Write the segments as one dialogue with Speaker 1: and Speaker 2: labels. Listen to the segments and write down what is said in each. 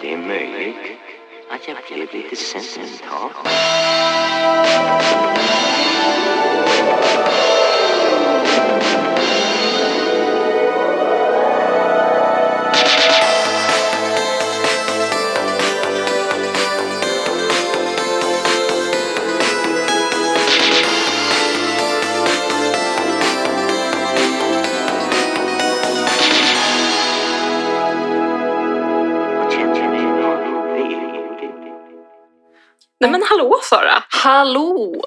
Speaker 1: Det är möjligt att jag blev lite sentimental. Och känner ni någon vild?
Speaker 2: Nej men hallå Sara!
Speaker 3: Hallå!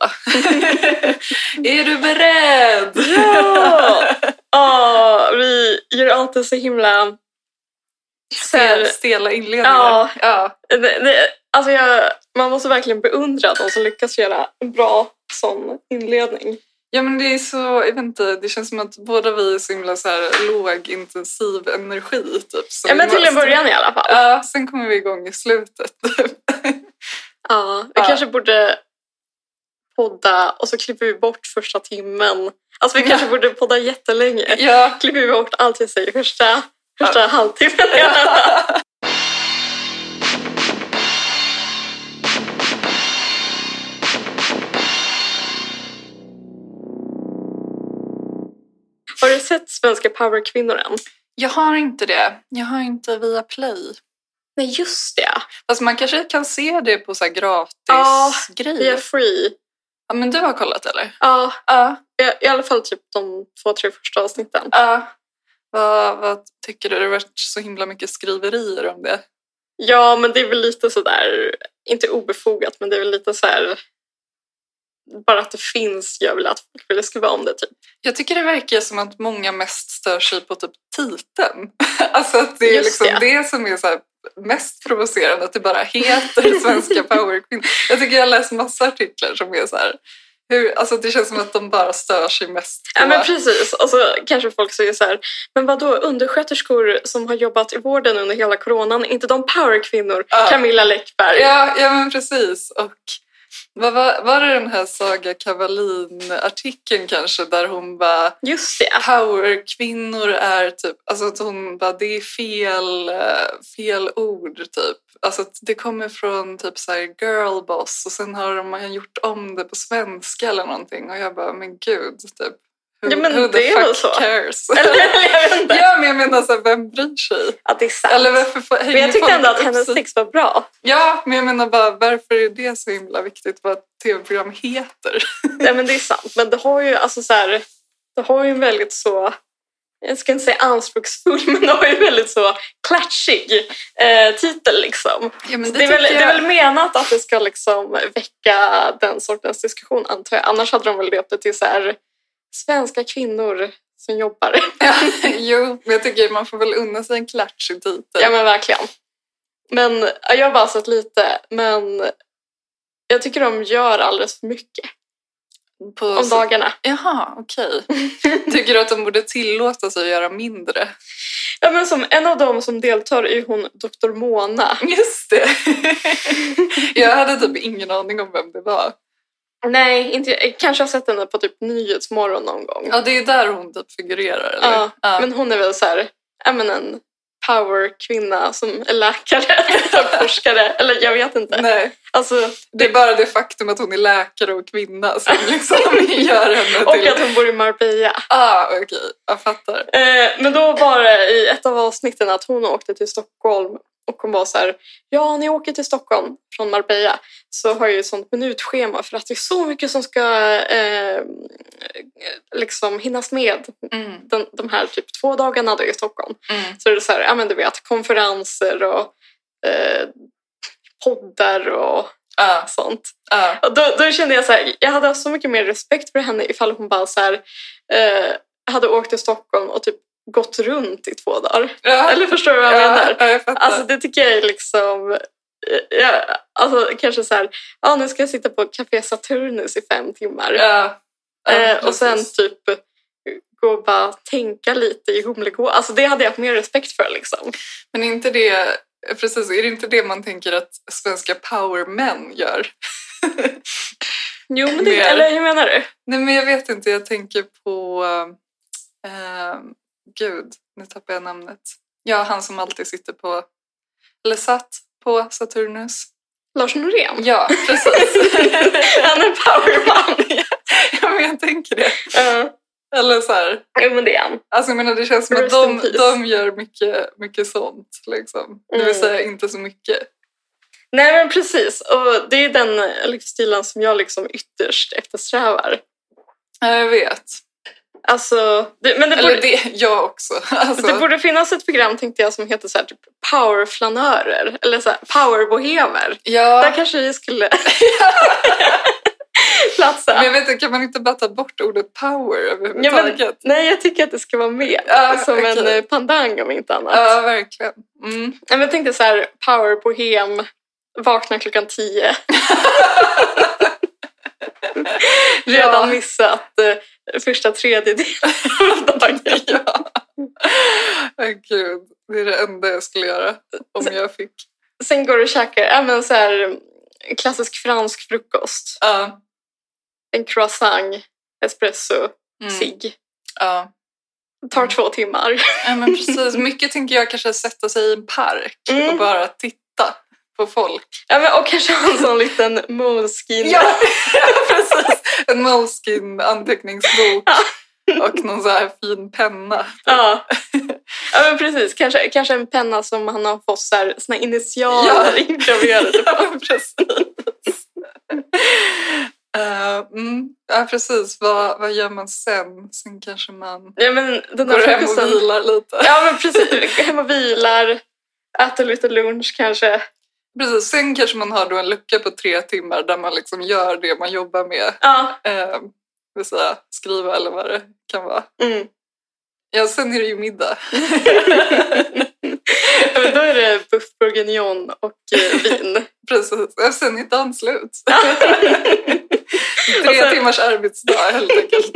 Speaker 3: är du beredd?
Speaker 2: Ja! Ah, vi gör alltid så himla... Så här-
Speaker 3: Stela inledningar.
Speaker 2: Ja.
Speaker 3: ja.
Speaker 2: det, det, alltså jag, man måste verkligen beundra de som lyckas göra en bra sån inledning.
Speaker 3: Ja, men det är så, jag vet inte, det känns som att båda vi är så himla så här, lågintensiv energi. Typ, så
Speaker 2: Ja,
Speaker 3: vi
Speaker 2: men till en
Speaker 3: måste-
Speaker 2: början i alla fall.
Speaker 3: Ja, sen kommer vi igång i slutet. typ.
Speaker 2: Ja, vi
Speaker 3: Ja.
Speaker 2: kanske borde podda och så klipper vi bort första timmen. Alltså vi kanske borde podda jättelänge.
Speaker 3: ja.
Speaker 2: Klipper vi bort allt jag säger första, första halvtimmen. Har du sett Svenska powerkvinnor än?
Speaker 3: Jag har inte det. Jag har inte via play.
Speaker 2: Nej, just det.
Speaker 3: Fast man kanske kan se det på så här
Speaker 2: Ja,
Speaker 3: gratis grejer.
Speaker 2: Via Free.
Speaker 3: Ja, men du har kollat eller?
Speaker 2: Ja,
Speaker 3: Ja.
Speaker 2: i- i alla fall typ de två, tre första avsnitten.
Speaker 3: ja. Vad, vad tycker du? Det har varit så himla mycket skriverier om det.
Speaker 2: Ja, men det är väl lite sådär, inte obefogat, men det är väl lite så här. Bara att det finns gör väl att folk vill skriva om det typ.
Speaker 3: Jag tycker det verkar som att många mest stör sig på typ titeln. Alltså att det är
Speaker 2: Just
Speaker 3: liksom
Speaker 2: det.
Speaker 3: det. som är så här mest provocerande, att det bara heter Svenska powerkvinnor. Jag tycker jag läst massa artiklar som är så här, hur, alltså det känns som att de bara stör sig mest på...
Speaker 2: Ja, men precis. Och så kanske folk säger så här, men vad då undersköterskor som har jobbat i vården under hela coronan, är inte de powerkvinnor?
Speaker 3: Ja.
Speaker 2: Camilla Läckberg.
Speaker 3: ja, ja, men precis. Och vad var, var det den här Saga Kavalin-artikeln kanske, där hon bara
Speaker 2: Just det.
Speaker 3: powerkvinnor är typ, alltså att hon bara, det är fel, eh, fel ord typ. Alltså att det kommer från typ så här girlboss och sen har de gjort om det på svenska eller någonting och jag bara, men gud, typ. Who,
Speaker 2: Ja, men
Speaker 3: who the
Speaker 2: det är
Speaker 3: fuck
Speaker 2: väl så.
Speaker 3: cares?
Speaker 2: Eller jag vet inte.
Speaker 3: ja, men jag menar så här, vem bryr sig?
Speaker 2: Ja, det är sant.
Speaker 3: Eller varför får-
Speaker 2: men
Speaker 3: hänger
Speaker 2: jag tyckte
Speaker 3: folk
Speaker 2: ändå att
Speaker 3: upp
Speaker 2: hennes
Speaker 3: sig-
Speaker 2: text var bra.
Speaker 3: Ja, men jag menar bara, varför är det så himla viktigt vad ett tv-program heter?
Speaker 2: Nej, men det är sant. Men det har ju alltså så här, det har ju en väldigt så, jag ska inte säga anspråksfull, men det har ju en väldigt så klatschig eh, titel liksom.
Speaker 3: Ja, men
Speaker 2: Det är, väl,
Speaker 3: tycker
Speaker 2: det är
Speaker 3: jag-
Speaker 2: väl menat att det ska liksom väcka den sortens diskussion antar jag. Annars hade de väl döpt det till så här, svenska kvinnor som jobbar.
Speaker 3: Ja, jo, men jag tycker man får väl unna sig en klatschig titel.
Speaker 2: ja men verkligen. Men ja, jag har bara sett lite, men jag tycker de gör alldeles för mycket
Speaker 3: på
Speaker 2: om dagarna.
Speaker 3: Jaha, okej. Tycker du att de borde tillåta sig att göra mindre?
Speaker 2: Ja, men som en av dem som deltar är ju hon Dr. Mona.
Speaker 3: Just det! jag hade typ ingen aning om vem det var.
Speaker 2: Nej, inte, jag kanske har sett henne på typ Nyhetsmorgon någon gång.
Speaker 3: Ja, det är där hon typ figurerar, eller?
Speaker 2: Ja, Men hon är väl så här, ja, men en powerkvinna som är läkare eller forskare. Eller jag vet inte.
Speaker 3: Nej,
Speaker 2: Alltså,
Speaker 3: det är bara det faktum att hon är läkare och kvinna som liksom gör henne
Speaker 2: och
Speaker 3: till...
Speaker 2: att hon bor i Marbella.
Speaker 3: Ah, okej. Jag fattar.
Speaker 2: Eh, men då var det i ett av avsnitten att hon åkte till Stockholm och hon var så här, ja ni åker till Stockholm från Marbella så har jag ju ett sånt minutschema för att det är så mycket som ska eh, liksom hinnas med
Speaker 3: Mm,
Speaker 2: den, de här typ två dagarna då i Stockholm.
Speaker 3: mm,
Speaker 2: Så är det så här, ja men du vet konferenser och eh, poddar och
Speaker 3: ah,
Speaker 2: sånt.
Speaker 3: ah.
Speaker 2: Och då, då kände jag så här, jag hade haft så mycket mer respekt för henne ifall hon bara så här, eh, hade åkt till Stockholm och typ gått runt i två dagar.
Speaker 3: Ja,
Speaker 2: Eller förstår du vad jag
Speaker 3: ja,
Speaker 2: menar?
Speaker 3: ja, jag fattar.
Speaker 2: Alltså det tycker jag är liksom, eh, ja, alltså kanske så här, ja nu ska jag sitta på Café Saturnus i fem timmar.
Speaker 3: Ja. Ja,
Speaker 2: eh, och sen
Speaker 3: precis.
Speaker 2: typ gå och bara tänka lite i Humlegård. Alltså det hade jag haft mer respekt för liksom.
Speaker 3: Men är inte det, precis, är det inte det man tänker att svenska powermän gör?
Speaker 2: Jo men det,
Speaker 3: Mer.
Speaker 2: eller hur menar du?
Speaker 3: Nej men jag vet inte, jag tänker på... Eh, gud, nu tappar jag namnet. Ja, han som alltid sitter på... Eller satt på Saturnus.
Speaker 2: Lars Norén?
Speaker 3: Ja, precis.
Speaker 2: Han är powerman.
Speaker 3: ja, men jag tänker det.
Speaker 2: Ja,
Speaker 3: Eller så här,
Speaker 2: Jo, men det är han.
Speaker 3: alltså jag menar det känns som att
Speaker 2: Rest in
Speaker 3: de,
Speaker 2: peace.
Speaker 3: de gör mycket, mycket sånt. Liksom. Det vill
Speaker 2: Mm.
Speaker 3: säga inte så mycket.
Speaker 2: Nej, men precis. Och det är den livsstilen som jag liksom ytterst eftersträvar.
Speaker 3: Ja, jag vet.
Speaker 2: Alltså, det, men det
Speaker 3: Eller
Speaker 2: borde,
Speaker 3: det, jag också. Alltså,
Speaker 2: det borde finnas ett program tänkte jag som heter så här, typ powerflanörer eller så här, powerbohemer. Där
Speaker 3: ja,
Speaker 2: kanske vi skulle platsa.
Speaker 3: men jag vet inte, kan man inte bara ta bort ordet power överhuvudtaget? Ja,
Speaker 2: Nej, jag tycker att det ska vara med.
Speaker 3: Ja,
Speaker 2: som
Speaker 3: okej.
Speaker 2: en eh, pandang om inte annat.
Speaker 3: ja verkligen. Mm.
Speaker 2: Nej, men jag tänkte så här, power bohem, vakna klockan tio. Redan
Speaker 3: Ja.
Speaker 2: missat eh, första tredjedelen av dagen.
Speaker 3: Ja. Åh, Gud, det är det enda jag skulle göra om jag fick.
Speaker 2: Sen går du och käkar ja, men så här, klassisk fransk frukost.
Speaker 3: Ja.
Speaker 2: En croissant, espresso,
Speaker 3: Mm.
Speaker 2: cigg.
Speaker 3: Ja.
Speaker 2: Tar två timmar.
Speaker 3: ja, men precis. Mycket tänker jag kanske sätta sig i en park
Speaker 2: Mm.
Speaker 3: och bara titta på folk.
Speaker 2: Ja, men, och kanske ha en sån liten moleskin.
Speaker 3: precis. En Moleskine anteckningsbok och någon så här fin penna.
Speaker 2: Ja. ja, men precis. Kanske, kanske en penna som han har fått så här, sina initialer ingraverade på.
Speaker 3: Ja, men precis. Eh, mm. Ja, precis. Vad, vad gör man sen? Sen kanske man
Speaker 2: Ja, men den
Speaker 3: går
Speaker 2: här
Speaker 3: hem och
Speaker 2: frukosten.
Speaker 3: vilar lite.
Speaker 2: Ja, men precis. Hem och vilar, äter lite lunch kanske.
Speaker 3: Precis, sen kanske man har då en lucka på tre timmar där man liksom gör det man jobbar med.
Speaker 2: Ja.
Speaker 3: Eh, det vill säga skriva eller vad det kan vara.
Speaker 2: Mm.
Speaker 3: Ja, sen är det ju middag.
Speaker 2: Ja, men då är det buff bourguignon och eh, vin.
Speaker 3: Precis, ja, sen är dagen slut. tre timmars arbetsdag helt enkelt.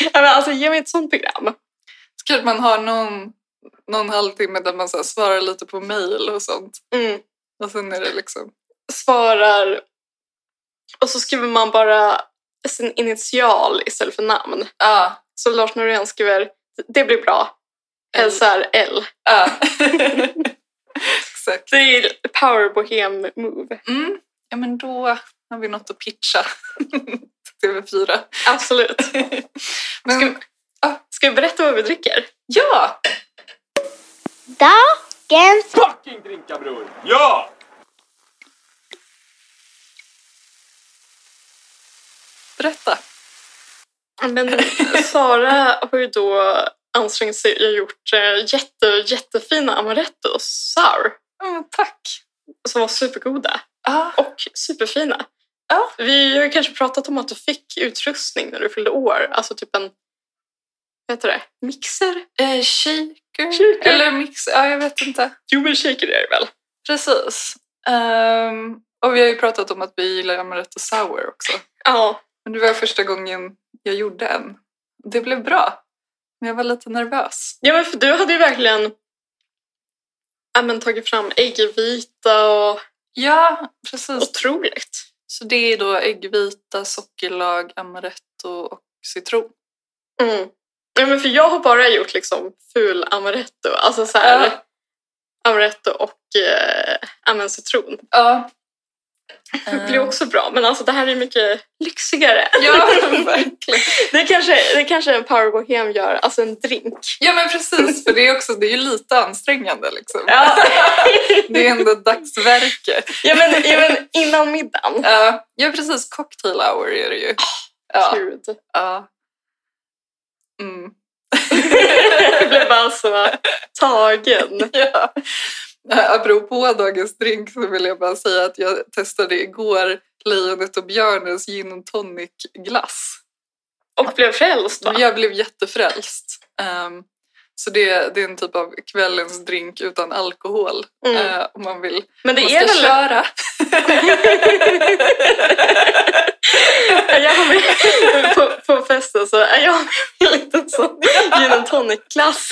Speaker 2: Ja, men alltså, ge mig ett sånt program.
Speaker 3: Så kanske man har någon, någon halvtimme där man så här svarar lite på mejl och sånt.
Speaker 2: Mm.
Speaker 3: Och sen är det liksom...
Speaker 2: Svarar och så skriver man bara sin initial istället för namn.
Speaker 3: Ah,
Speaker 2: Så Lars Norén skriver det blir bra. Hälsar L.
Speaker 3: ah. Exakt.
Speaker 2: Det är power bohem move.
Speaker 3: Mm. Ja, men då har vi något att pitcha. TV4.
Speaker 2: Absolut.
Speaker 3: Men,
Speaker 2: Ska vi berätta vad vi dricker?
Speaker 3: Ja!
Speaker 4: Dagens
Speaker 5: fucking drinka bror! Ja!
Speaker 3: Berätta.
Speaker 2: Men Sara har ju då ansträngt sig och gjort eh, jätte, jättefina amarettos, sour,
Speaker 3: Mm, tack.
Speaker 2: som var supergoda
Speaker 3: Ah,
Speaker 2: och superfina.
Speaker 3: Ja.
Speaker 2: Vi har ju kanske pratat om att du fick utrustning när du fyllde år, alltså typ en vad heter det? Mixer?
Speaker 3: eh, shaker.
Speaker 2: Shaker.
Speaker 3: Eller mix. Ja, jag vet inte.
Speaker 2: Jo, men shaker är det väl?
Speaker 3: Precis. Ehm, och vi har ju pratat om att vi gillar Amaretto Sour också.
Speaker 2: Ja.
Speaker 3: Men det var första gången jag gjorde en. Det blev bra. Men jag var lite nervös.
Speaker 2: ja, men för du hade ju verkligen ja, men, tagit fram äggvita och
Speaker 3: Ja, precis.
Speaker 2: otroligt.
Speaker 3: Så det är då äggvita, sockerlag, amaretto och citron.
Speaker 2: Mm. Ja, men för jag har bara gjort liksom ful amaretto. Alltså så här,
Speaker 3: Ja.
Speaker 2: amaretto och eh, ja, men citron.
Speaker 3: Ja. Eh,
Speaker 2: Det blir också bra, men alltså det här är mycket lyxigare.
Speaker 3: Ja, verkligen.
Speaker 2: Det kanske, det kanske en power bohem gör, alltså en drink.
Speaker 3: Ja, men precis. För det är, också, det är ju lite ansträngande liksom.
Speaker 2: Ja,
Speaker 3: Det är ändå dagsverket.
Speaker 2: ja, men, ja men innan middagen.
Speaker 3: Ja, ja precis. Cocktail hour är det ju. Ja.
Speaker 2: Gud.
Speaker 3: ja. Mm.
Speaker 2: Jag blev bara så tagen.
Speaker 3: ja. Eh, Apropå dagens drink så vill jag bara säga att jag testade igår Lejonet och björnens gin och tonic glass.
Speaker 2: Och blev frälst va?
Speaker 3: Jag blev jättefrälst. Ehm, så det, det är en typ av kvällens drink utan alkohol
Speaker 2: Mm.
Speaker 3: eh, om man vill.
Speaker 2: Men det
Speaker 3: man
Speaker 2: är väl...
Speaker 3: köra.
Speaker 2: Är jag har med på, på festen så är jag har med en liten sån gin and tonic-glass.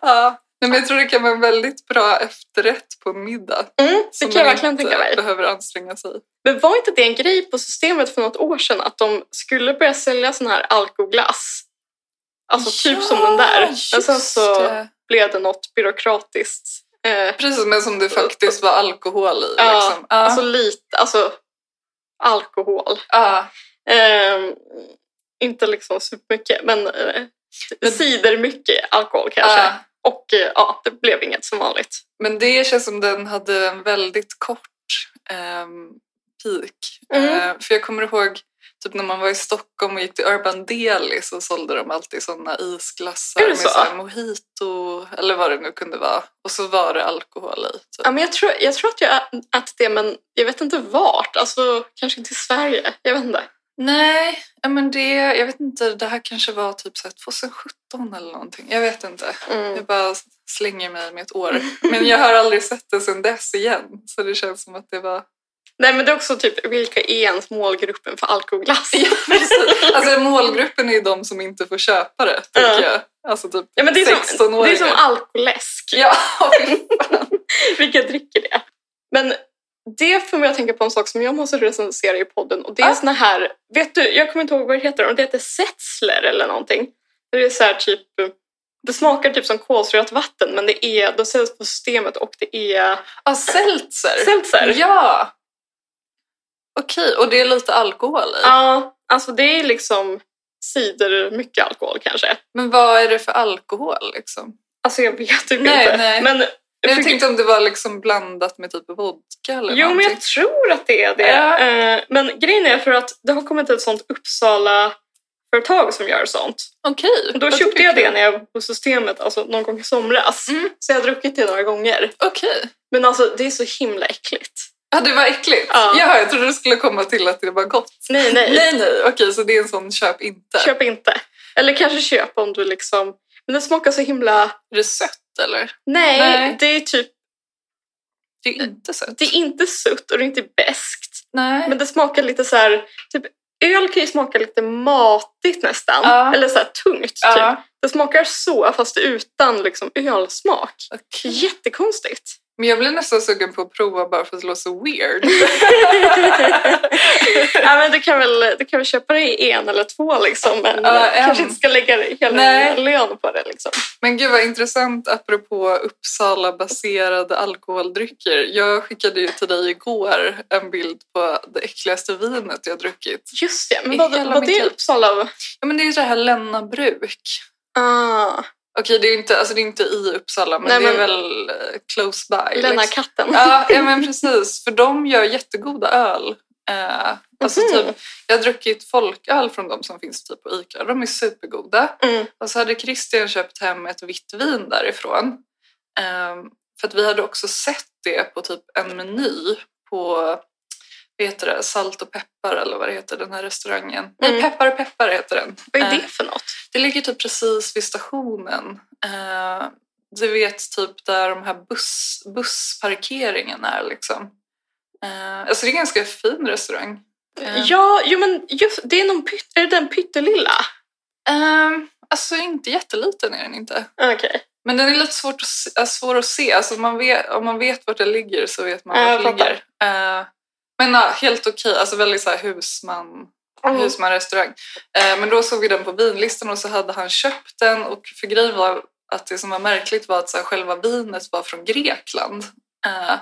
Speaker 3: Ja. Nej, men jag tror det kan vara en väldigt bra efterrätt på en middag.
Speaker 2: Mm, det
Speaker 3: som
Speaker 2: kan jag
Speaker 3: man
Speaker 2: verkligen
Speaker 3: inte
Speaker 2: tänka mig.
Speaker 3: behöver anstränga sig.
Speaker 2: Men var inte det en grej på systemet för något år sedan att de skulle börja sälja sån här alkoglass? Alltså typ som den där. Men sen så
Speaker 3: det.
Speaker 2: blev det något byråkratiskt Eh,
Speaker 3: Precis, men som det faktiskt var alkohol i.
Speaker 2: Ja,
Speaker 3: liksom. Ja.
Speaker 2: Alltså lite, alltså alkohol.
Speaker 3: ja.
Speaker 2: Eh, inte liksom supermycket, men eh, cider mycket alkohol kanske.
Speaker 3: ja.
Speaker 2: Och eh, ja, det blev inget som vanligt.
Speaker 3: Men det känns som den hade en väldigt kort ehm, peak.
Speaker 2: Mm.
Speaker 3: Eh, för jag kommer ihåg typ när man var i Stockholm och gick till Urban Deli så sålde de alltid sådana isglassar
Speaker 2: Är det
Speaker 3: med
Speaker 2: så?
Speaker 3: så här mojito eller vad det nu kunde vara. Och så var det alkohol i. Typ.
Speaker 2: Ja, men jag, tror, jag tror att jag ätit det, men jag vet inte vart. Alltså kanske inte i Sverige. Jag vet inte.
Speaker 3: Nej, ja, men det, jag vet inte. Det här kanske var typ så här 2017 eller någonting. Jag vet inte.
Speaker 2: Mm.
Speaker 3: Jag bara slänger mig med ett år. Men jag har aldrig sett det sedan dess igen. Så det känns som att det var
Speaker 2: Nej, men det är också typ vilka är ens målgruppen för alkoglass?
Speaker 3: Ja, precis. Alltså målgruppen är ju de som inte får köpa det,
Speaker 2: Ja.
Speaker 3: tycker jag. Alltså typ
Speaker 2: Ja, men det, är som,
Speaker 3: 16-åringar.
Speaker 2: det är som alkoläsk.
Speaker 3: Ja,
Speaker 2: Vilka dricker det? Men det får mig att tänka på en sak som jag måste recensera i podden. Och det är
Speaker 3: Ah.
Speaker 2: såna här, vet du, jag kommer inte ihåg vad det heter, om det heter Setzler eller någonting. Det är så här typ, det smakar typ som kolsyrat vatten men det är, de säljs på systemet och det är
Speaker 3: ja seltzer.
Speaker 2: seltzer.
Speaker 3: Ja! Okej, och det är lite alkohol i.
Speaker 2: Ja, alltså det är liksom cider, mycket alkohol kanske.
Speaker 3: Men vad är det för alkohol liksom?
Speaker 2: Alltså jag vet typ
Speaker 3: Nej,
Speaker 2: inte.
Speaker 3: nej.
Speaker 2: Men,
Speaker 3: Jag tänkte om det var liksom blandat med typ vodka eller
Speaker 2: Jo, men
Speaker 3: någonting.
Speaker 2: jag tror att det är det.
Speaker 3: Ja.
Speaker 2: Eh, Men grejen är för att det har kommit ett sånt Uppsala-företag som gör sånt.
Speaker 3: Okej.
Speaker 2: Och Då
Speaker 3: vad
Speaker 2: köpte jag det
Speaker 3: tycker
Speaker 2: när jag var på systemet alltså någon gång i somras.
Speaker 3: Mm.
Speaker 2: Så jag har druckit det några gånger.
Speaker 3: du? Okej.
Speaker 2: Men alltså det är så himla äckligt.
Speaker 3: Ja, det var äckligt.
Speaker 2: Ja.
Speaker 3: Jaha, jag trodde du skulle komma till att det var gott.
Speaker 2: Nej, nej.
Speaker 3: Nej, nej. Okej, så det är en sån köp inte.
Speaker 2: Köp inte. Eller kanske köp om du liksom... Men det smakar så himla...
Speaker 3: Är det sött eller?
Speaker 2: Nej,
Speaker 3: Nej.
Speaker 2: det är typ...
Speaker 3: Det är inte sött.
Speaker 2: Det är inte sött och det är inte beskt.
Speaker 3: Nej.
Speaker 2: Men typ. det smakar lite så här... Typ, öl kan ju smaka lite matigt nästan.
Speaker 3: Ja.
Speaker 2: Eller så här tungt typ.
Speaker 3: Ja.
Speaker 2: Det smakar så fast utan liksom ölsmak.
Speaker 3: Okej.
Speaker 2: Jättekonstigt.
Speaker 3: Men jag blir nästan sugen på att prova bara för att det låter så weird.
Speaker 2: ja, men du, kan väl, du kan väl köpa dig en eller två liksom. Men
Speaker 3: Ja,
Speaker 2: eh, kanske
Speaker 3: en.
Speaker 2: inte ska lägga dig hela
Speaker 3: Nej.
Speaker 2: din lön på det liksom.
Speaker 3: Men gud vad intressant apropå Uppsala-baserade alkoholdrycker. Jag skickade ju till dig igår en bild på det äckligaste vinet jag druckit.
Speaker 2: Just det, men
Speaker 3: I
Speaker 2: vad,
Speaker 3: hela
Speaker 2: vad
Speaker 3: mitt
Speaker 2: det är
Speaker 3: liv.
Speaker 2: Uppsala?
Speaker 3: Ja men det är ju det här Lenna bruk.
Speaker 2: Ah,
Speaker 3: Okej det är ju inte, alltså det är inte i Uppsala men
Speaker 2: Nej,
Speaker 3: det är
Speaker 2: men-
Speaker 3: väl eh, close by.
Speaker 2: Lena
Speaker 3: liksom.
Speaker 2: katten.
Speaker 3: Ja, ja men precis, för de gör jättegoda öl. Eh, alltså
Speaker 2: Mhm.
Speaker 3: typ, jag har druckit folköl från de som finns typ på ICA. De är supergoda.
Speaker 2: Mm.
Speaker 3: Och så hade Christian köpt hem ett vitt vin därifrån. Ehm, för att vi hade också sett det på typ en meny på vad heter det, Salt och peppar eller vad det heter, den här restaurangen.
Speaker 2: Mm.
Speaker 3: Nej, Peppar och peppar heter den.
Speaker 2: Vad är
Speaker 3: Eh,
Speaker 2: det för något?
Speaker 3: det ligger typ precis vid stationen. Eh, du vet typ där de här buss, bussparkeringen är liksom. Eh, alltså det är en ganska fin restaurang. Eh,
Speaker 2: Ja, jo, men just, det är, någon pytt, är det den pyttelilla?
Speaker 3: ehm, alltså inte jätteliten är den inte.
Speaker 2: Okej.
Speaker 3: Men den är lite svårt att se, äh, svår att se. Alltså man vet, om man vet vart den ligger så vet man
Speaker 2: Ja,
Speaker 3: vart
Speaker 2: jag
Speaker 3: den ligger.
Speaker 2: fattar.
Speaker 3: Eh, men ja, helt okej, alltså väldigt så här husman,
Speaker 2: Mm.
Speaker 3: husmanrestaurang. Eh, men då såg vi den på vinlistan och så hade han köpt den och för grejen var att det som var märkligt var att så här, själva vinet var från Grekland. Eh,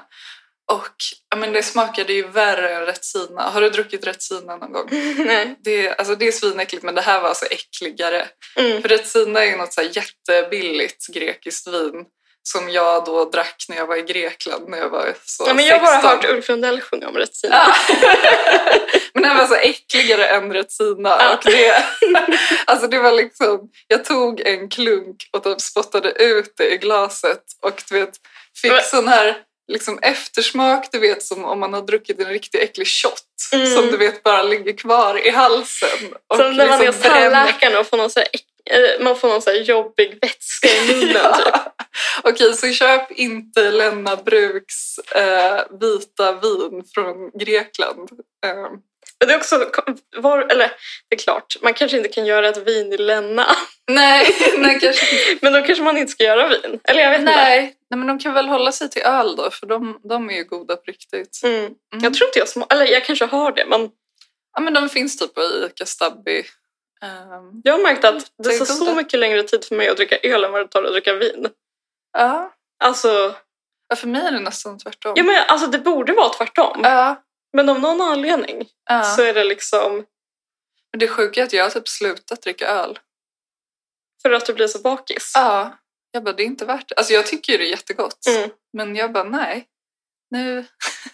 Speaker 3: och ja, men det smakade ju värre än retsina. Har du druckit retsina någon
Speaker 2: Mm.
Speaker 3: gång?
Speaker 2: Nej.
Speaker 3: Det, alltså, det är svinäckligt men det här var alltså äckligare.
Speaker 2: Mm.
Speaker 3: För Retsina är ju något så här jättebilligt grekiskt vin som jag då drack när jag var i Grekland när jag var så
Speaker 2: Ja, men jag har bara
Speaker 3: 16.
Speaker 2: hört Ulf Lundell sjunga om Retsina.
Speaker 3: Ja. men det här var så äckligare än Retsina.
Speaker 2: Ja.
Speaker 3: Och det, alltså det var liksom, jag tog en klunk och typ spottade ut det i glaset och du vet, fick
Speaker 2: Men-
Speaker 3: sån här liksom eftersmak, du vet som om man har druckit en riktigt äcklig shot
Speaker 2: Mm.
Speaker 3: som du vet bara ligger kvar i halsen. Och
Speaker 2: Som när man är hos
Speaker 3: liksom bränner
Speaker 2: tandläkaren och får någon, så här, äck- eh, man får någon så här jobbig vätska i munnen. typ.
Speaker 3: Ja. Okej, så köp inte Lenna Bruks eh, vita vin från Grekland. Eh,
Speaker 2: Men det är också, var, eller det är klart, man kanske inte kan göra ett vin i Länna.
Speaker 3: nej, nej, kanske inte.
Speaker 2: Men då kanske man inte ska göra vin. Eller jag vet
Speaker 3: nej. nej, men de kan väl hålla sig till öl då, för de, de är ju goda på riktigt.
Speaker 2: inte. Mm.
Speaker 3: Mm.
Speaker 2: Jag tror inte jag smakar, eller jag kanske har det, men
Speaker 3: Ja, men de finns typ på Ica Stabby. Eh,
Speaker 2: jag har märkt att det
Speaker 3: Det är
Speaker 2: tar
Speaker 3: goda.
Speaker 2: så mycket längre tid för mig att dricka öl än vad det tar att dricka vin.
Speaker 3: ja,
Speaker 2: Alltså,
Speaker 3: Ja, för mig är det nästan tvärtom.
Speaker 2: Ja, men alltså det borde vara tvärtom.
Speaker 3: Ja,
Speaker 2: Men av någon anledning
Speaker 3: ja.
Speaker 2: så är det liksom
Speaker 3: Men det sjuka är att jag har typ slutat dricka öl.
Speaker 2: för att du blir så bakis.
Speaker 3: Ja. Jag bara, det är inte värt det. Alltså jag tycker ju det är jättegott.
Speaker 2: Mm.
Speaker 3: Men jag bara, nej. Nu,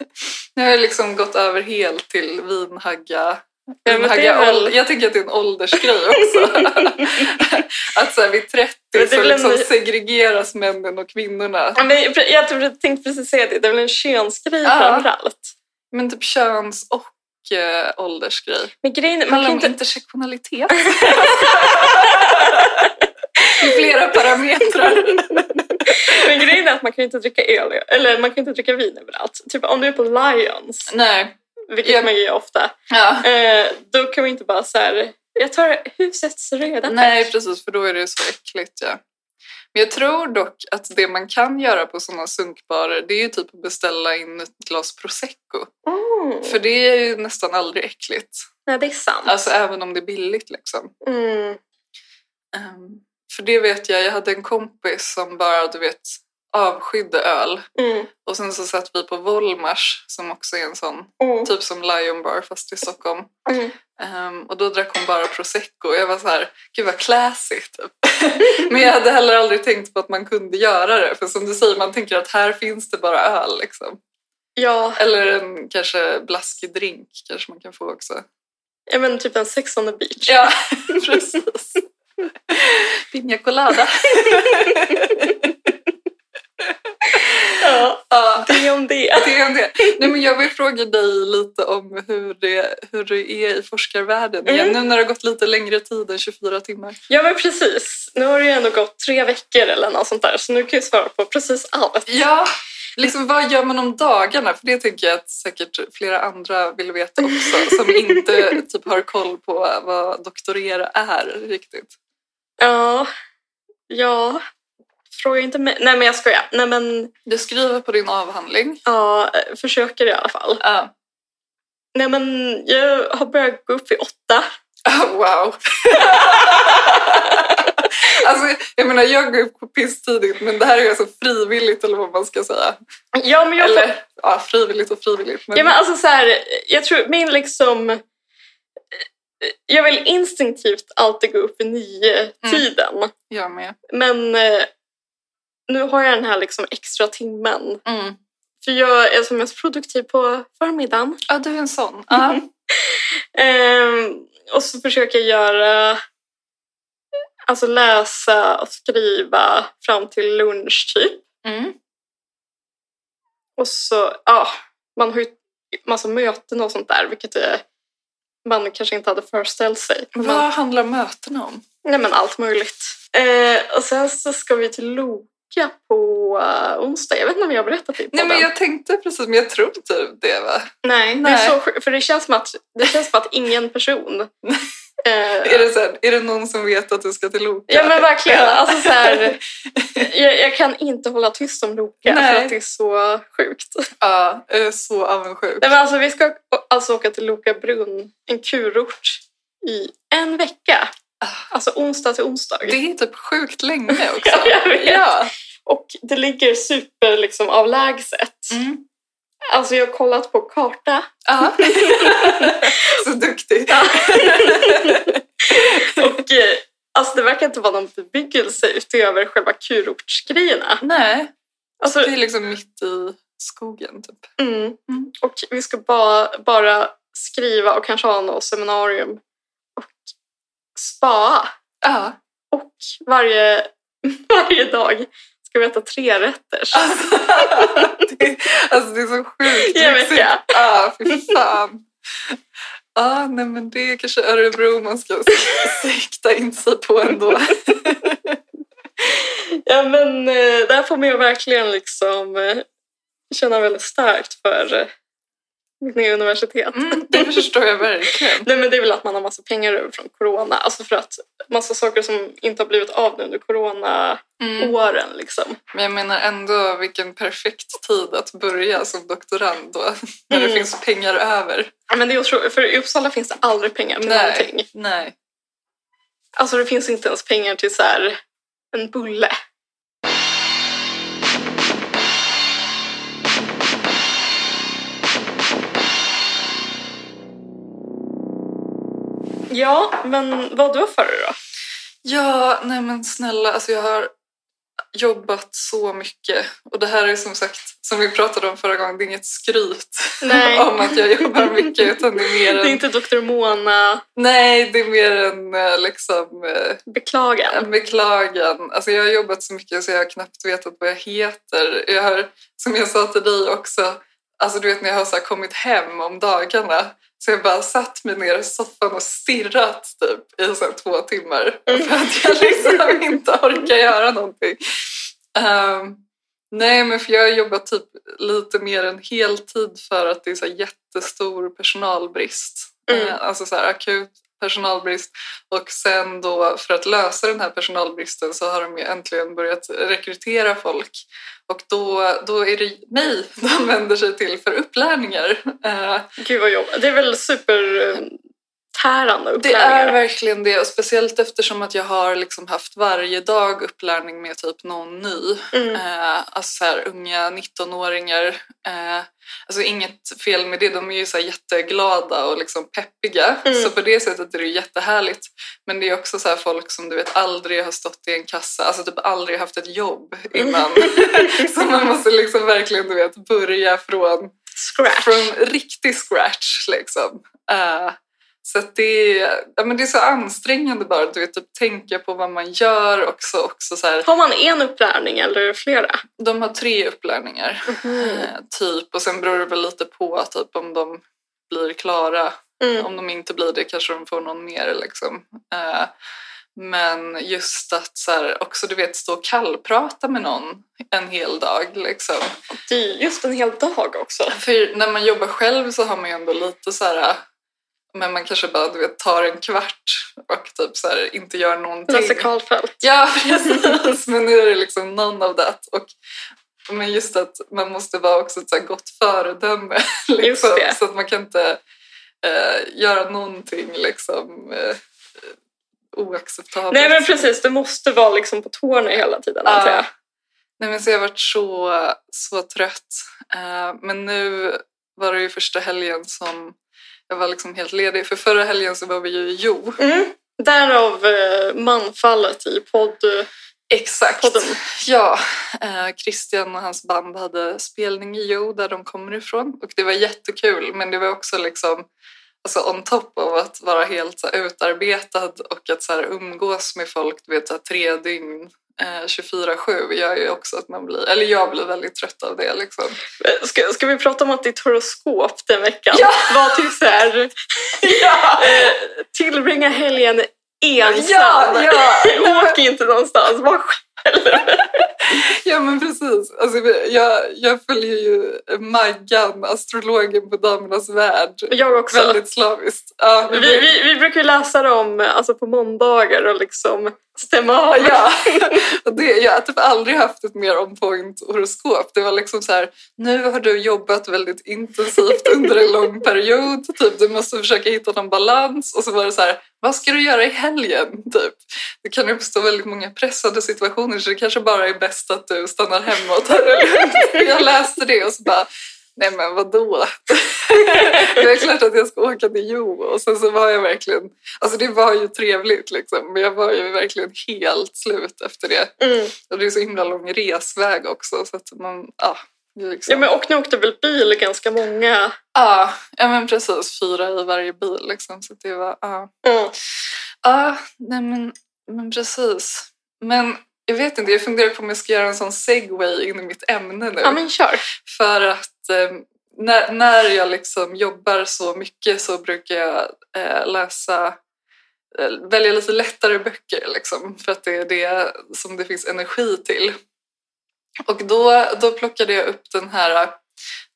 Speaker 3: nu har jag liksom gått över helt till vinhagga.
Speaker 2: Ja, men det
Speaker 3: vinhagga
Speaker 2: är väl-
Speaker 3: ål- Jag tycker att det är en åldersgrej också. att så här, vid 30
Speaker 2: Men det
Speaker 3: så
Speaker 2: är väl
Speaker 3: liksom
Speaker 2: en-
Speaker 3: segregeras männen och kvinnorna.
Speaker 2: Ja, men jag- jag tror- jag tänkte precis säga det, det är väl en könsgrej
Speaker 3: Ja.
Speaker 2: framförallt.
Speaker 3: Men typ köns och eh, åldersgrej.
Speaker 2: Men grejen
Speaker 3: Det
Speaker 2: är, man
Speaker 3: handlar
Speaker 2: kan
Speaker 3: om
Speaker 2: inte...
Speaker 3: intersektionalitet. I flera parametrar.
Speaker 2: Men grejen är att man kan ju inte dricka öl, eller man kan inte dricka vin överallt. Typ om du är på Lions,
Speaker 3: Nej.
Speaker 2: vilket
Speaker 3: Ja.
Speaker 2: man gör ofta,
Speaker 3: Ja.
Speaker 2: eh, då kan man inte bara så här, jag tar husets röda
Speaker 3: Nej,
Speaker 2: tack."
Speaker 3: precis, för då är det så äckligt. Ja. Men jag tror dock att det man kan göra på sådana sunkbarer det är ju typ att beställa in ett glas prosecco.
Speaker 2: Mm.
Speaker 3: För det är ju nästan aldrig äckligt.
Speaker 2: Nej, det är sant.
Speaker 3: Alltså även om det är billigt liksom.
Speaker 2: Mm.
Speaker 3: Ehm, för det vet jag, jag hade en kompis som bara, du vet, avskydde öl.
Speaker 2: Mm.
Speaker 3: Och sen så satt vi på Volmars som också är en sån,
Speaker 2: Mm.
Speaker 3: typ som Lion Bar fast i Stockholm.
Speaker 2: Mm.
Speaker 3: Ehm, och då drack hon bara prosecco och jag var så här, gud vad classy typ. Men jag hade heller aldrig tänkt på att man kunde göra det. För som du säger, man tänker att här finns det bara öl liksom.
Speaker 2: Ja,
Speaker 3: Eller en kanske blaskig drink kanske man kan få också.
Speaker 2: ja, men typ en sex on the beach.
Speaker 3: Ja, precis. Piña colada.
Speaker 2: Ja,
Speaker 3: Ja,
Speaker 2: det om det.
Speaker 3: det är det. Nej, men jag vill fråga dig lite om hur det, hur det är i forskarvärlden igen.
Speaker 2: Mm.
Speaker 3: Nu när det har gått lite längre tid än 24 timmar.
Speaker 2: Ja, men precis. Nu har det ju ändå gått tre veckor eller något sånt där, så nu kan jag svara på precis allt.
Speaker 3: Ja, liksom vad gör man om dagarna? För det tänker jag att säkert flera andra vill veta också som inte typ har koll på vad doktorera är riktigt.
Speaker 2: Ja, ja. Fråga inte mig. Nej, men jag skojar. Nej, men
Speaker 3: Du skriver på din avhandling. Ah,
Speaker 2: ja, eh, försöker i alla fall.
Speaker 3: Ja.
Speaker 2: Nej, men jag har börjat gå upp i åtta.
Speaker 3: Ah, wow! alltså, jag menar, jag går upp på pisstidigt men det här är alltså frivilligt eller vad man ska säga.
Speaker 2: Ja, men jag,
Speaker 3: Eller ja, frivilligt och frivilligt. Men,
Speaker 2: ja, men alltså så här, jag tror min liksom... Jag vill instinktivt alltid gå upp i nio-tiden.
Speaker 3: Jag med.
Speaker 2: Men eh, nu har jag den här liksom extra timmen.
Speaker 3: Mm.
Speaker 2: För jag är som mest produktiv på förmiddagen.
Speaker 3: Ja, du är en sån. Ah. Ja.
Speaker 2: Ehm, och så försöker jag göra... Alltså läsa och skriva fram till lunch typ.
Speaker 3: Mm.
Speaker 2: Och så, ja, man har ju massa möten och sånt där, vilket är, man kanske inte hade föreställt sig. Men,
Speaker 3: Vad handlar mötena om?
Speaker 2: nej men allt möjligt. Eh, och sen så ska vi till Loka på eh, onsdag. Jag vet inte om jag har berättat det i
Speaker 3: Nej, men
Speaker 2: podden.
Speaker 3: jag tänkte precis, men jag tror inte det va?
Speaker 2: Nej, det
Speaker 3: Nej.
Speaker 2: är så sjukt, för det känns som att, det känns som att ingen person... eh,
Speaker 3: Är det, så här, är det någon som vet att du ska till Loka?
Speaker 2: ja men verkligen, alltså så här, jag, jag kan inte hålla tyst om Loka
Speaker 3: Nej.
Speaker 2: för att det är så sjukt.
Speaker 3: Ja, jag är så avundsjuk.
Speaker 2: Nej, men alltså, vi ska alltså åka till Loka brunn, en kurort, i en vecka. Alltså onsdag till onsdag.
Speaker 3: Det är typ sjukt länge också.
Speaker 2: Jag vet.
Speaker 3: ja.
Speaker 2: Och det ligger super liksom, avlägset.
Speaker 3: Mm.
Speaker 2: Alltså jag har kollat på karta
Speaker 3: ja. så duktig.
Speaker 2: Ja. och eh, alltså, det verkar inte vara någon bebyggelse utöver själva kurortsgrejerna.
Speaker 3: Nej,
Speaker 2: Alltså,
Speaker 3: det är liksom mitt i skogen typ.
Speaker 2: mm. Och vi ska bara, bara skriva och kanske ha något seminarium och spa.
Speaker 3: Ja.
Speaker 2: Och varje, varje dag ska vi äta tre rätter.
Speaker 3: Alltså, det, alltså det är så sjukt
Speaker 2: Jag vet
Speaker 3: lyxigt.
Speaker 2: jag.
Speaker 3: Ja, fy fan. Ja, nej men det är kanske Örebro man ska sikta in sig på ändå.
Speaker 2: Ja, men eh, där får man ju verkligen liksom eh, känna väldigt starkt för eh, mitt nya universitet.
Speaker 3: Mm, det förstår jag verkligen.
Speaker 2: Nej, men det är väl att man har massa pengar över från corona. Alltså för att massa saker som inte har blivit av nu under corona-åren.
Speaker 3: Mm.
Speaker 2: Liksom.
Speaker 3: Men jag menar ändå vilken perfekt tid att börja som doktorand då. När det
Speaker 2: Mm.
Speaker 3: finns pengar över.
Speaker 2: Ja, Men det är otroligt, för i Uppsala finns det aldrig pengar till någonting.
Speaker 3: nej.
Speaker 2: Alltså det finns inte ens pengar till så här, en bulle. Ja, men vad då för dig då?
Speaker 3: Ja, nej men snälla, alltså jag har jobbat så mycket. Och det här är som sagt, som vi pratade om förra gången, det är inget skryt
Speaker 2: Nej.
Speaker 3: om att jag jobbar mycket. Utan det
Speaker 2: Det
Speaker 3: är mer
Speaker 2: är
Speaker 3: en,
Speaker 2: inte Dr. Mona
Speaker 3: nej, det är mer en eh, liksom, eh,
Speaker 2: beklagan.
Speaker 3: en beklagan. Alltså jag har jobbat så mycket så jag har knappt vetat vad jag heter. Jag har, som jag sa till dig också, alltså du vet när jag har så här kommit hem om dagarna så jag bara satt mig ner i soffan och stirrat typ i så här två timmar för att jag liksom inte orkar göra någonting. Ehm, nej, men för jag har jobbat typ lite mer än heltid för att det är så här jättestor personalbrist.
Speaker 2: Mm.
Speaker 3: Eh, Alltså så här akut personalbrist. Och sen då för att lösa den här personalbristen så har de ju äntligen börjat rekrytera folk. Och då, då är det mig de vänder sig till för upplärningar. Eh,
Speaker 2: Gud vad jobbigt. Det är väl supertärande
Speaker 3: Det är
Speaker 2: upplärningar?
Speaker 3: verkligen det, och speciellt eftersom att jag har liksom haft varje dag upplärning med typ någon ny.
Speaker 2: Mm.
Speaker 3: Eh, alltså så här, unga 19-åringar. Eh, alltså inget fel med det, de är ju så här jätteglada och liksom peppiga.
Speaker 2: Mm.
Speaker 3: Så på det sättet är det ju jättehärligt. Men det är också så här folk som du vet aldrig har stått i en kassa, alltså typ aldrig haft ett jobb innan.
Speaker 2: Mm.
Speaker 3: så man måste liksom verkligen du vet, börja från
Speaker 2: Scratch.
Speaker 3: från riktig scratch liksom. Eh, så att det, är, ja, men det är så ansträngande bara att du vet, typ, tänka på vad man gör och så också så här,
Speaker 2: Har man en upplärning eller flera?
Speaker 3: de har tre upplärningar
Speaker 2: Mm.
Speaker 3: eh, typ och sen beror det väl lite på typ om de blir klara.
Speaker 2: Mm.
Speaker 3: Om de inte blir det kanske de får någon mer liksom. Eh, men just att så här, också du vet stå och kallprata med någon en hel dag liksom.
Speaker 2: Det är just en hel dag också.
Speaker 3: För när man jobbar själv så har man ju ändå lite så här... eh, Men man kanske bara du vet, tar en kvart och typ så här, inte gör någonting.
Speaker 2: Lasse Karlfeldt.
Speaker 3: Ja, precis. Men nu är det liksom none of that. Och, men just att man måste vara också ett så här gott föredöme. Liksom,
Speaker 2: det.
Speaker 3: så att man kan inte eh, göra någonting liksom, eh, oacceptabelt.
Speaker 2: Nej men precis, du måste vara liksom på tårna hela tiden antar jag.
Speaker 3: Ja. Nej, men så jag har varit så, så trött. Eh, men nu var det ju första helgen som jag var liksom helt ledig. För förra helgen så var vi ju i Jo.
Speaker 2: Mm. Därav eh, manfallet i podd... eh,
Speaker 3: Exakt.
Speaker 2: podden.
Speaker 3: Ja, eh, Christian och hans band hade spelning i Jo där de kommer ifrån. Och det var jättekul, men det var också liksom alltså on top av att vara helt så här, utarbetad och att så här, umgås med folk du vet, så här, tre dygn. eh, 24-7 gör ju också att man blir, eller jag blir väldigt trött av det liksom.
Speaker 2: Eh, Ska, ska vi prata om att ditt horoskop den veckan
Speaker 3: Ja!
Speaker 2: var typ så här,
Speaker 3: Ja!
Speaker 2: eh, tillbringa helgen ensam.
Speaker 3: Ja, ja.
Speaker 2: Åk inte någonstans, var själv.
Speaker 3: ja men precis. Alltså, jag, jag följer ju Maggan, astrologen på Damernas Värld.
Speaker 2: Jag också.
Speaker 3: Väldigt slaviskt. Ja,
Speaker 2: Vi, vi, vi brukar ju läsa dem alltså på måndagar och liksom stämma av.
Speaker 3: Ja, och det, jag har typ aldrig haft ett mer on point horoskop. Det var liksom så här, nu har du jobbat väldigt intensivt under en lång period. Typ, du måste försöka hitta någon balans. Och så var det så här, vad ska du göra i helgen? Typ. Det kan uppstå väldigt många pressade situationer så det kanske bara är bäst att du stannar hemma och tar det lugnt. Jag läste det och så bara, nej men vadå? det är klart att jag ska åka till Jo och sen så var jag verkligen Alltså det var ju trevligt liksom, men jag var ju verkligen helt slut efter det.
Speaker 2: Mm.
Speaker 3: Och det är så himla lång resväg också så att man, ja. det är Liksom.
Speaker 2: Ja, men, och ni åkte väl bil ganska många?
Speaker 3: Ja, ja men precis, fyra i varje bil liksom. Så att det var, ja.
Speaker 2: Mm.
Speaker 3: Ja, nej men, men precis. Men jag vet inte, jag funderar på om jag ska göra en sån segway in i mitt ämne nu.
Speaker 2: Ja men kör.
Speaker 3: För att eh, när, när jag liksom jobbar så mycket så brukar jag eh, läsa eh, välja lite lättare böcker liksom, för att det är det som det finns energi till. Och då, då plockade jag upp den här, eh,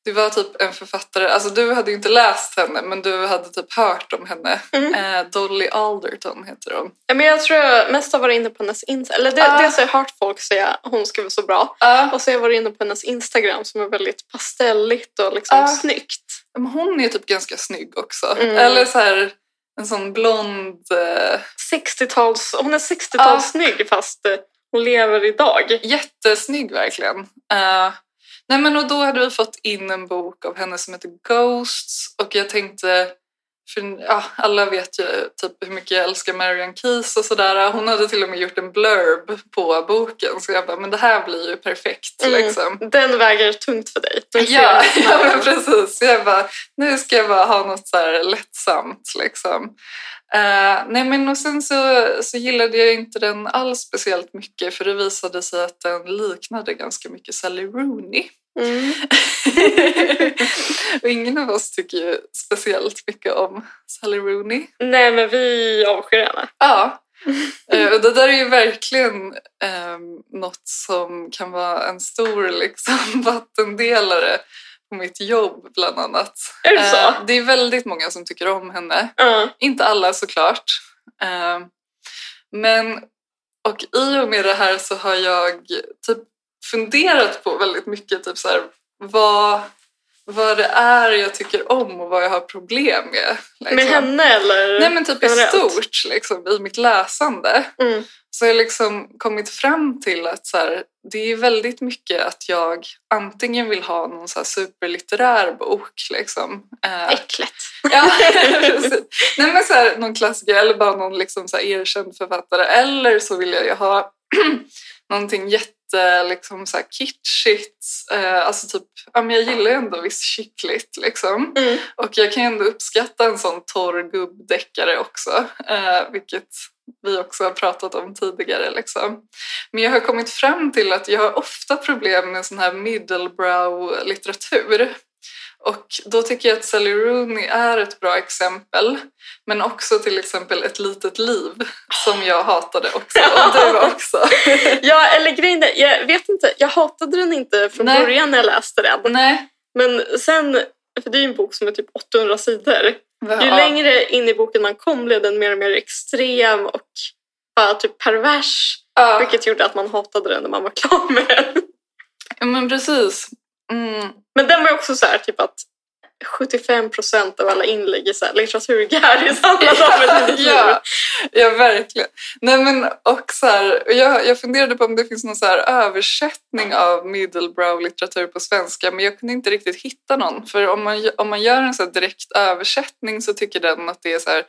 Speaker 3: det var typ en författare, alltså du hade ju inte läst henne men du hade typ hört om henne.
Speaker 2: Mm.
Speaker 3: Eh, Dolly Alderton heter hon.
Speaker 2: Ja, men jag tror jag mest har varit inne på hennes Instagram. Eller det,
Speaker 3: Ah.
Speaker 2: dels har jag hört folk säga hon skriver så bra. Och så har jag varit inne på hennes Instagram som är väldigt pastelligt och liksom
Speaker 3: Ah.
Speaker 2: snyggt.
Speaker 3: Men hon är typ ganska snygg också.
Speaker 2: Mm.
Speaker 3: Eller så här, en sån blond eh,
Speaker 2: 60-tals, hon är 60-talssnygg fast eh, hon lever idag.
Speaker 3: Jättesnygg verkligen. Eh, nej men och då hade vi fått in en bok av henne som heter Ghosts och jag tänkte För, ja, alla vet ju typ hur mycket jag älskar Marianne Keys och sådär. Hon hade till och med gjort en blurb på boken så jag bara, men det här blir ju perfekt
Speaker 2: Mm.
Speaker 3: liksom.
Speaker 2: Den väger tungt för dig. Den
Speaker 3: Ja,
Speaker 2: ser-
Speaker 3: ja men precis. Jag bara, nu ska jag bara ha något så här lättsamt. Liksom. Eh, nej, men och sen så, så gillade jag inte den alls speciellt mycket för det visade sig att den liknade ganska mycket Sally Rooney.
Speaker 2: Mm.
Speaker 3: och ingen av oss tycker ju speciellt mycket om Sally Rooney.
Speaker 2: Nej, men vi avskyr henne.
Speaker 3: Ja. Eh, Och det där är ju verkligen eh, något som kan vara en stor liksom, vattendelare på mitt jobb bland annat.
Speaker 2: Är det så?
Speaker 3: Eh, det är väldigt många som tycker om henne.
Speaker 2: Ja.
Speaker 3: Inte alla såklart. Eh, men och i och med det här så har jag typ funderat på väldigt mycket typ så här, vad, vad det är jag tycker om och vad jag har problem med.
Speaker 2: Med
Speaker 3: liksom.
Speaker 2: henne eller?
Speaker 3: Nej men typ i
Speaker 2: generellt?
Speaker 3: stort liksom, i mitt läsande
Speaker 2: Mm.
Speaker 3: så har jag liksom kommit fram till att så här, det är väldigt mycket att jag antingen vill ha någon så här superlitterär bok. Liksom. Eh,
Speaker 2: Äckligt.
Speaker 3: ja, precis. Nej, men så här, någon klassiker eller bara någon liksom så här erkänd författare. Eller så vill jag ju ha någonting jätte liksom så här kitschigt. Eh, alltså typ, ja, men jag gillar ju ändå viss chickligt liksom.
Speaker 2: Mm.
Speaker 3: Och jag kan ju ändå uppskatta en sån torr gubbdeckare också, eh, vilket vi också har pratat om tidigare. Liksom. Men jag har kommit fram till att jag har ofta problem med sån här middlebrow-litteratur. Och då tycker jag att Sally Rooney är ett bra exempel, men också till exempel Ett litet liv som jag hatade också, och du också.
Speaker 2: Ja, eller grejen är, jag vet inte, jag hatade den inte från
Speaker 3: Nej.
Speaker 2: början när jag läste den.
Speaker 3: Nej,
Speaker 2: Men sen, för det är ju en bok som är typ 800 sidor. Ju
Speaker 3: ja.
Speaker 2: längre in i boken man kom blev den mer och mer extrem och bara typ pervers.
Speaker 3: Ja.
Speaker 2: Vilket gjorde att man hatade den när man var klar med den.
Speaker 3: Ja, men precis. Mm.
Speaker 2: Men den var ju också så här typ att 75% av alla inlägg i så här litteraturgaris handlade om ett litet liv.
Speaker 3: ja, ja, verkligen. Nej, men, och så här, och jag, jag funderade på om det finns någon så här översättning av middlebrow-litteratur på svenska men jag kunde inte riktigt hitta någon. För om man, om man gör en så här direkt översättning så tycker den att det är så här,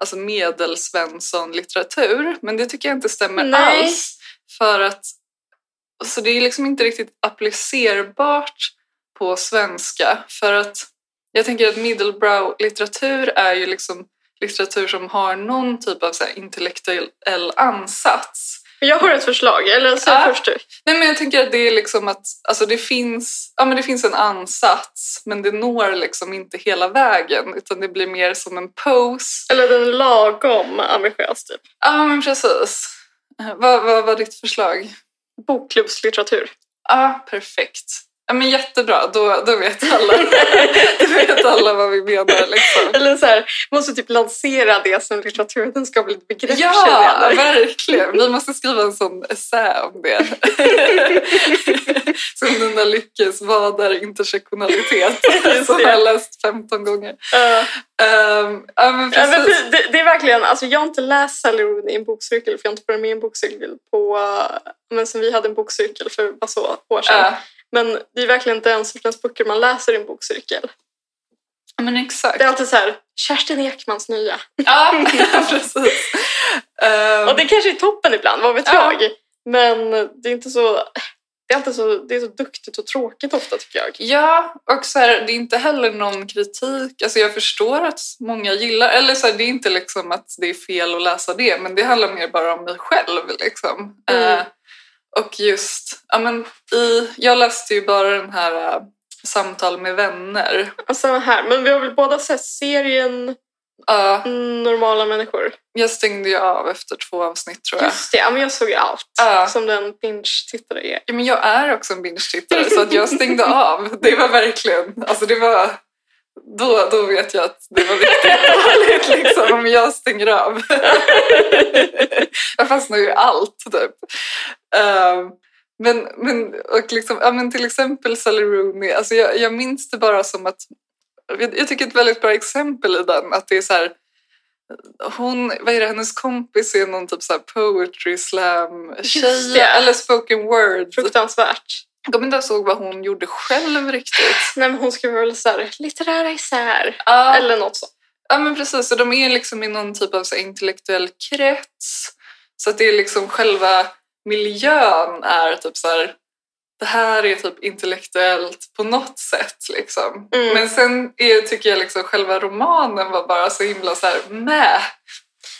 Speaker 3: alltså medelsvensson-litteratur. Men det tycker jag inte stämmer
Speaker 2: Nej.
Speaker 3: alls. För att, så det är liksom inte riktigt applicerbart på svenska. För att jag tänker att middlebrow-litteratur är ju liksom litteratur som har någon typ av så här intellektuell ansats.
Speaker 2: Jag har ett förslag, eller säg
Speaker 3: Ja.
Speaker 2: först typ, du.
Speaker 3: Nej, men jag tänker att det är liksom att alltså det, finns, ja, men det finns en ansats men det når liksom inte hela vägen utan det blir mer som en pose.
Speaker 2: Eller den lagom ambitiös typ.
Speaker 3: Ja, men precis. Eh, Vad, vad var ditt förslag?
Speaker 2: Bokklubbslitteratur.
Speaker 3: Ja, perfekt. Ja, men jättebra, då, då vet alla. då vet alla vad vi menar. Liksom.
Speaker 2: Eller så här, måste typ lansera det som litteraturen ska bli ett begrepp
Speaker 3: Ja,
Speaker 2: känner jag.
Speaker 3: verkligen. Vi måste skriva en sån essä om det. Som Nina Lyckes Vad är intersektionalitet?
Speaker 2: Just
Speaker 3: Som
Speaker 2: det.
Speaker 3: jag har läst 15 gånger.
Speaker 2: Ja.
Speaker 3: Ehm, ja, men
Speaker 2: Ja, men
Speaker 3: precis.
Speaker 2: för- det, det är verkligen, alltså jag har inte läst Sally Rooney i en bokcirkel för jag har inte varit med i en bokcirkel på, eh, men sen vi hade en bokcirkel för bara så år sedan.
Speaker 3: Ja,
Speaker 2: Men det är verkligen den sortens böcker man läser i en bokcirkel.
Speaker 3: men exakt.
Speaker 2: Det är alltid så här, Kerstin Ekmans nya.
Speaker 3: Ja, precis. Ehm,
Speaker 2: Och det kanske är toppen ibland, vad vet
Speaker 3: Ja.
Speaker 2: jag. Men det är inte så, det är alltid så, det är så duktigt och tråkigt ofta tycker jag.
Speaker 3: Ja, och så här, det är inte heller någon kritik. Alltså jag förstår att många gillar, eller så här, det är inte liksom att det är fel att läsa det, men det handlar mer bara om mig själv. Liksom.
Speaker 2: Mm.
Speaker 3: Eh, och just, ja, men i, jag läste ju bara den här eh, Samtal med vänner.
Speaker 2: Och samma här, men vi har väl båda sett serien
Speaker 3: Ja,
Speaker 2: Mm. Normala människor?
Speaker 3: jag stängde ju av efter två avsnitt tror jag.
Speaker 2: Just det, ja, men jag såg ju allt
Speaker 3: Ja.
Speaker 2: som den binge-tittare är.
Speaker 3: Ja, men jag är också en binge-tittare så att jag stängde av. Det var verkligen, alltså det var, då, då vet jag att det var riktigt dåligt liksom om jag stänger av. jag fastnar ju i allt typ. Ehm, men, men, och liksom, ja, men till exempel Sally Rooney, alltså jag, jag minns det bara som att, jag, jag tycker ett väldigt bra exempel i den, att det är så här, hon, vad är det, hennes kompis är någon typ så här poetry slam
Speaker 2: Just det.
Speaker 3: tjej eller spoken word.
Speaker 2: Fruktansvärt.
Speaker 3: Jag kommer inte ens ihåg vad hon gjorde själv riktigt.
Speaker 2: Nej, men hon skrev väl så här, litterära isär
Speaker 3: Ja,
Speaker 2: eller något sånt.
Speaker 3: Ja men precis, och de är liksom i någon typ av så här intellektuell krets. Så att det är liksom själva miljön är typ så här, det här är typ intellektuellt på något sätt liksom.
Speaker 2: Mm.
Speaker 3: Men sen är, tycker jag liksom själva romanen var bara så himla så här med.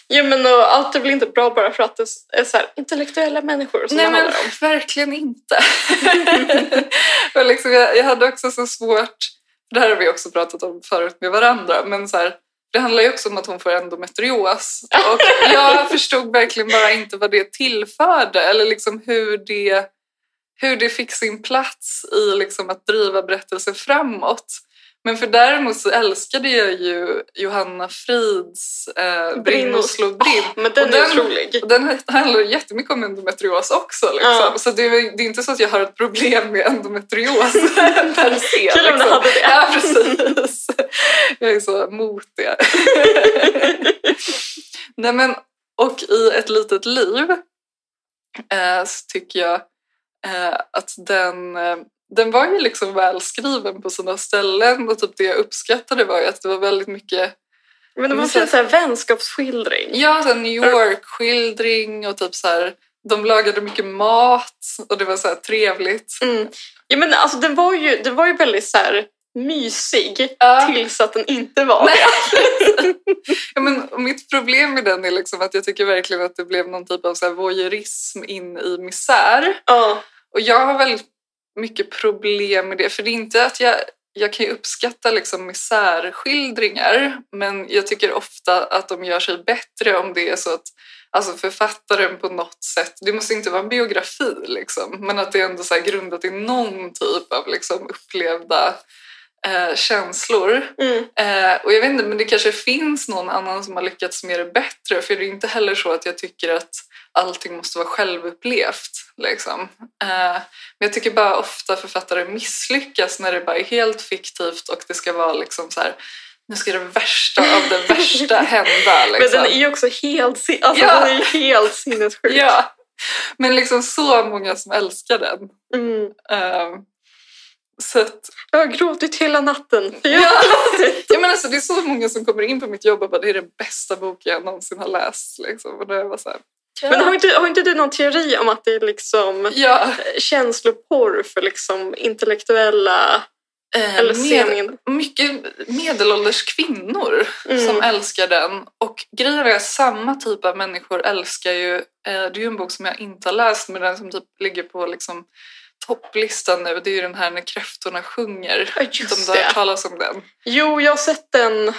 Speaker 2: Jo, men och allt är väl inte bra bara för att det är så här, intellektuella människor som
Speaker 3: Nej
Speaker 2: det
Speaker 3: men
Speaker 2: handlar om.
Speaker 3: verkligen inte. och liksom, jag, jag hade också så svårt, det här har vi också pratat om förut med varandra, men så här, det handlar ju också om att hon får endometrios. Och jag förstod verkligen bara inte vad det tillförde eller liksom hur det, hur det fick sin plats i liksom att driva berättelsen framåt. Men för däremot så älskade jag ju Johanna Frids eh, Brinn och slå brinn.
Speaker 2: Men den,
Speaker 3: Och
Speaker 2: är
Speaker 3: den-
Speaker 2: otrolig.
Speaker 3: Och den handlar ju jättemycket om endometrios också. Liksom.
Speaker 2: Ja.
Speaker 3: Så det är, det är inte så att jag har ett problem med endometrios per se. liksom.
Speaker 2: Kul om du hade det.
Speaker 3: Ja, precis. Jag är så mot det. Nej, men, och i Ett litet liv eh, så tycker jag eh, att den, eh, den var ju liksom välskriven på sina ställen och typ det jag uppskattade var ju att det var väldigt mycket
Speaker 2: Men det var en
Speaker 3: Men så-
Speaker 2: fin så här, vänskapsskildring.
Speaker 3: Ja, så här New York-skildring och typ så här, de lagade mycket mat och det var så här trevligt.
Speaker 2: Mm. Ja, men alltså, den, var ju, den var ju väldigt så här, mysig
Speaker 3: Ja.
Speaker 2: tills att den inte var
Speaker 3: Nej. Ja, men och mitt problem med den är liksom att jag tycker verkligen att det blev någon typ av så här voyeurism in i misär.
Speaker 2: Ja.
Speaker 3: Och jag har väldigt mycket problem med det, för det är inte att jag jag kan ju uppskatta liksom misärskildringar men jag tycker ofta att de gör sig bättre om det är så att alltså författaren på något sätt, det måste inte vara en biografi liksom, men att det är ändå så här grundat i någon typ av liksom upplevda eh, känslor.
Speaker 2: Mm.
Speaker 3: Eh, och jag vet inte, men det kanske finns någon annan som har lyckats med det bättre. För det är inte heller så att jag tycker att allting måste vara självupplevt. Liksom. Eh, men jag tycker bara ofta författare misslyckas när det bara är helt fiktivt och det ska vara liksom så här, nu ska det värsta av det värsta hända. Liksom.
Speaker 2: Men den är ju också helt, sin- alltså,
Speaker 3: Ja.
Speaker 2: den är ju helt sinnessjuk.
Speaker 3: Ja, men liksom så många som älskar den.
Speaker 2: Mm.
Speaker 3: Eh, så att
Speaker 2: Jag har gråtit hela natten. för jag-
Speaker 3: Ja. Ja, men alltså, det är så många som kommer in på mitt jobb och bara det är den bästa boken jag någonsin har läst. Liksom. Och då är jag bara så här,
Speaker 2: Men har inte, har inte du någon teori om att det är liksom
Speaker 3: ja.
Speaker 2: känsloporr för liksom intellektuella eller
Speaker 3: Eh, med,
Speaker 2: semin?
Speaker 3: mycket medelålders kvinnor
Speaker 2: Mm.
Speaker 3: som älskar den. Och grejen är att samma typ av människor älskar ju, eh, det är ju en bok som jag inte har läst men den som typ ligger på liksom, topplistan nu det är ju den här När kräftorna sjunger.
Speaker 2: Ja,
Speaker 3: Just
Speaker 2: just
Speaker 3: de har
Speaker 2: det.
Speaker 3: hört talas om den.
Speaker 2: Jo, jag har sett den i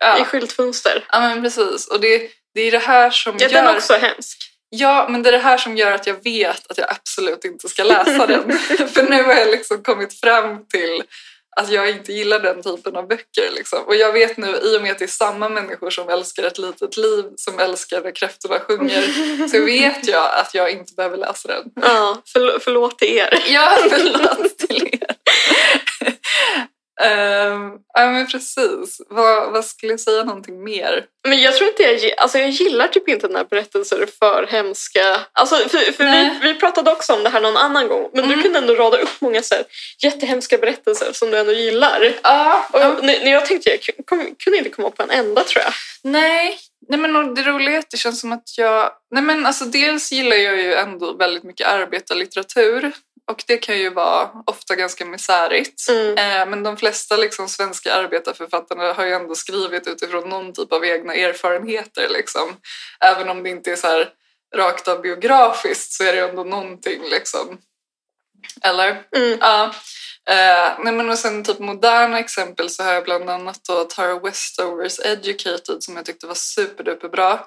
Speaker 3: Ja,
Speaker 2: skyltfönster.
Speaker 3: ja men precis. Och det, det är det här som
Speaker 2: Ja,
Speaker 3: gör...
Speaker 2: den är också hemsk.
Speaker 3: Ja, men det är det här som gör att jag vet att jag absolut inte ska läsa den. För nu har jag liksom kommit fram till att jag inte gillar den typen av böcker. Liksom. Och jag vet nu, i och med att det är samma människor som älskar ett litet liv, som älskar när kräftorna sjunger, så vet jag att jag inte behöver läsa den.
Speaker 2: Ja, förl- förlåt till er.
Speaker 3: Ja, förlåt till er. Ehm, ja, men precis. Vad, vad skulle jag säga någonting mer?
Speaker 2: Men jag tror inte jag, gi- alltså jag gillar typ inte när berättelser är för hemska. Alltså för, för vi,
Speaker 3: Nej.
Speaker 2: vi pratade också om det här någon annan gång, men du
Speaker 3: Mm.
Speaker 2: kunde ändå rada upp många så här, jättehemska berättelser som du ändå gillar.
Speaker 3: Ja,
Speaker 2: Och jag, när när jag tänkte, jag kun- kom, kunde inte komma på en enda tror jag.
Speaker 3: Nej, nej men och det roliga är att det känns som att jag... Nej men alltså dels gillar jag ju ändå väldigt mycket arbetarlitteratur och det kan ju vara ofta ganska misärigt.
Speaker 2: Mm.
Speaker 3: Eh, Men de flesta liksom svenska arbetarförfattarna har ju ändå skrivit utifrån någon typ av egna erfarenheter. Liksom. Även om det inte är så här rakt av biografiskt så är det ju ändå någonting. Liksom. Eller?
Speaker 2: Mm.
Speaker 3: Ja. Eh, nej men och sen typ moderna exempel så har jag bland annat då Tara Westovers Educated som jag tyckte var superduperbra.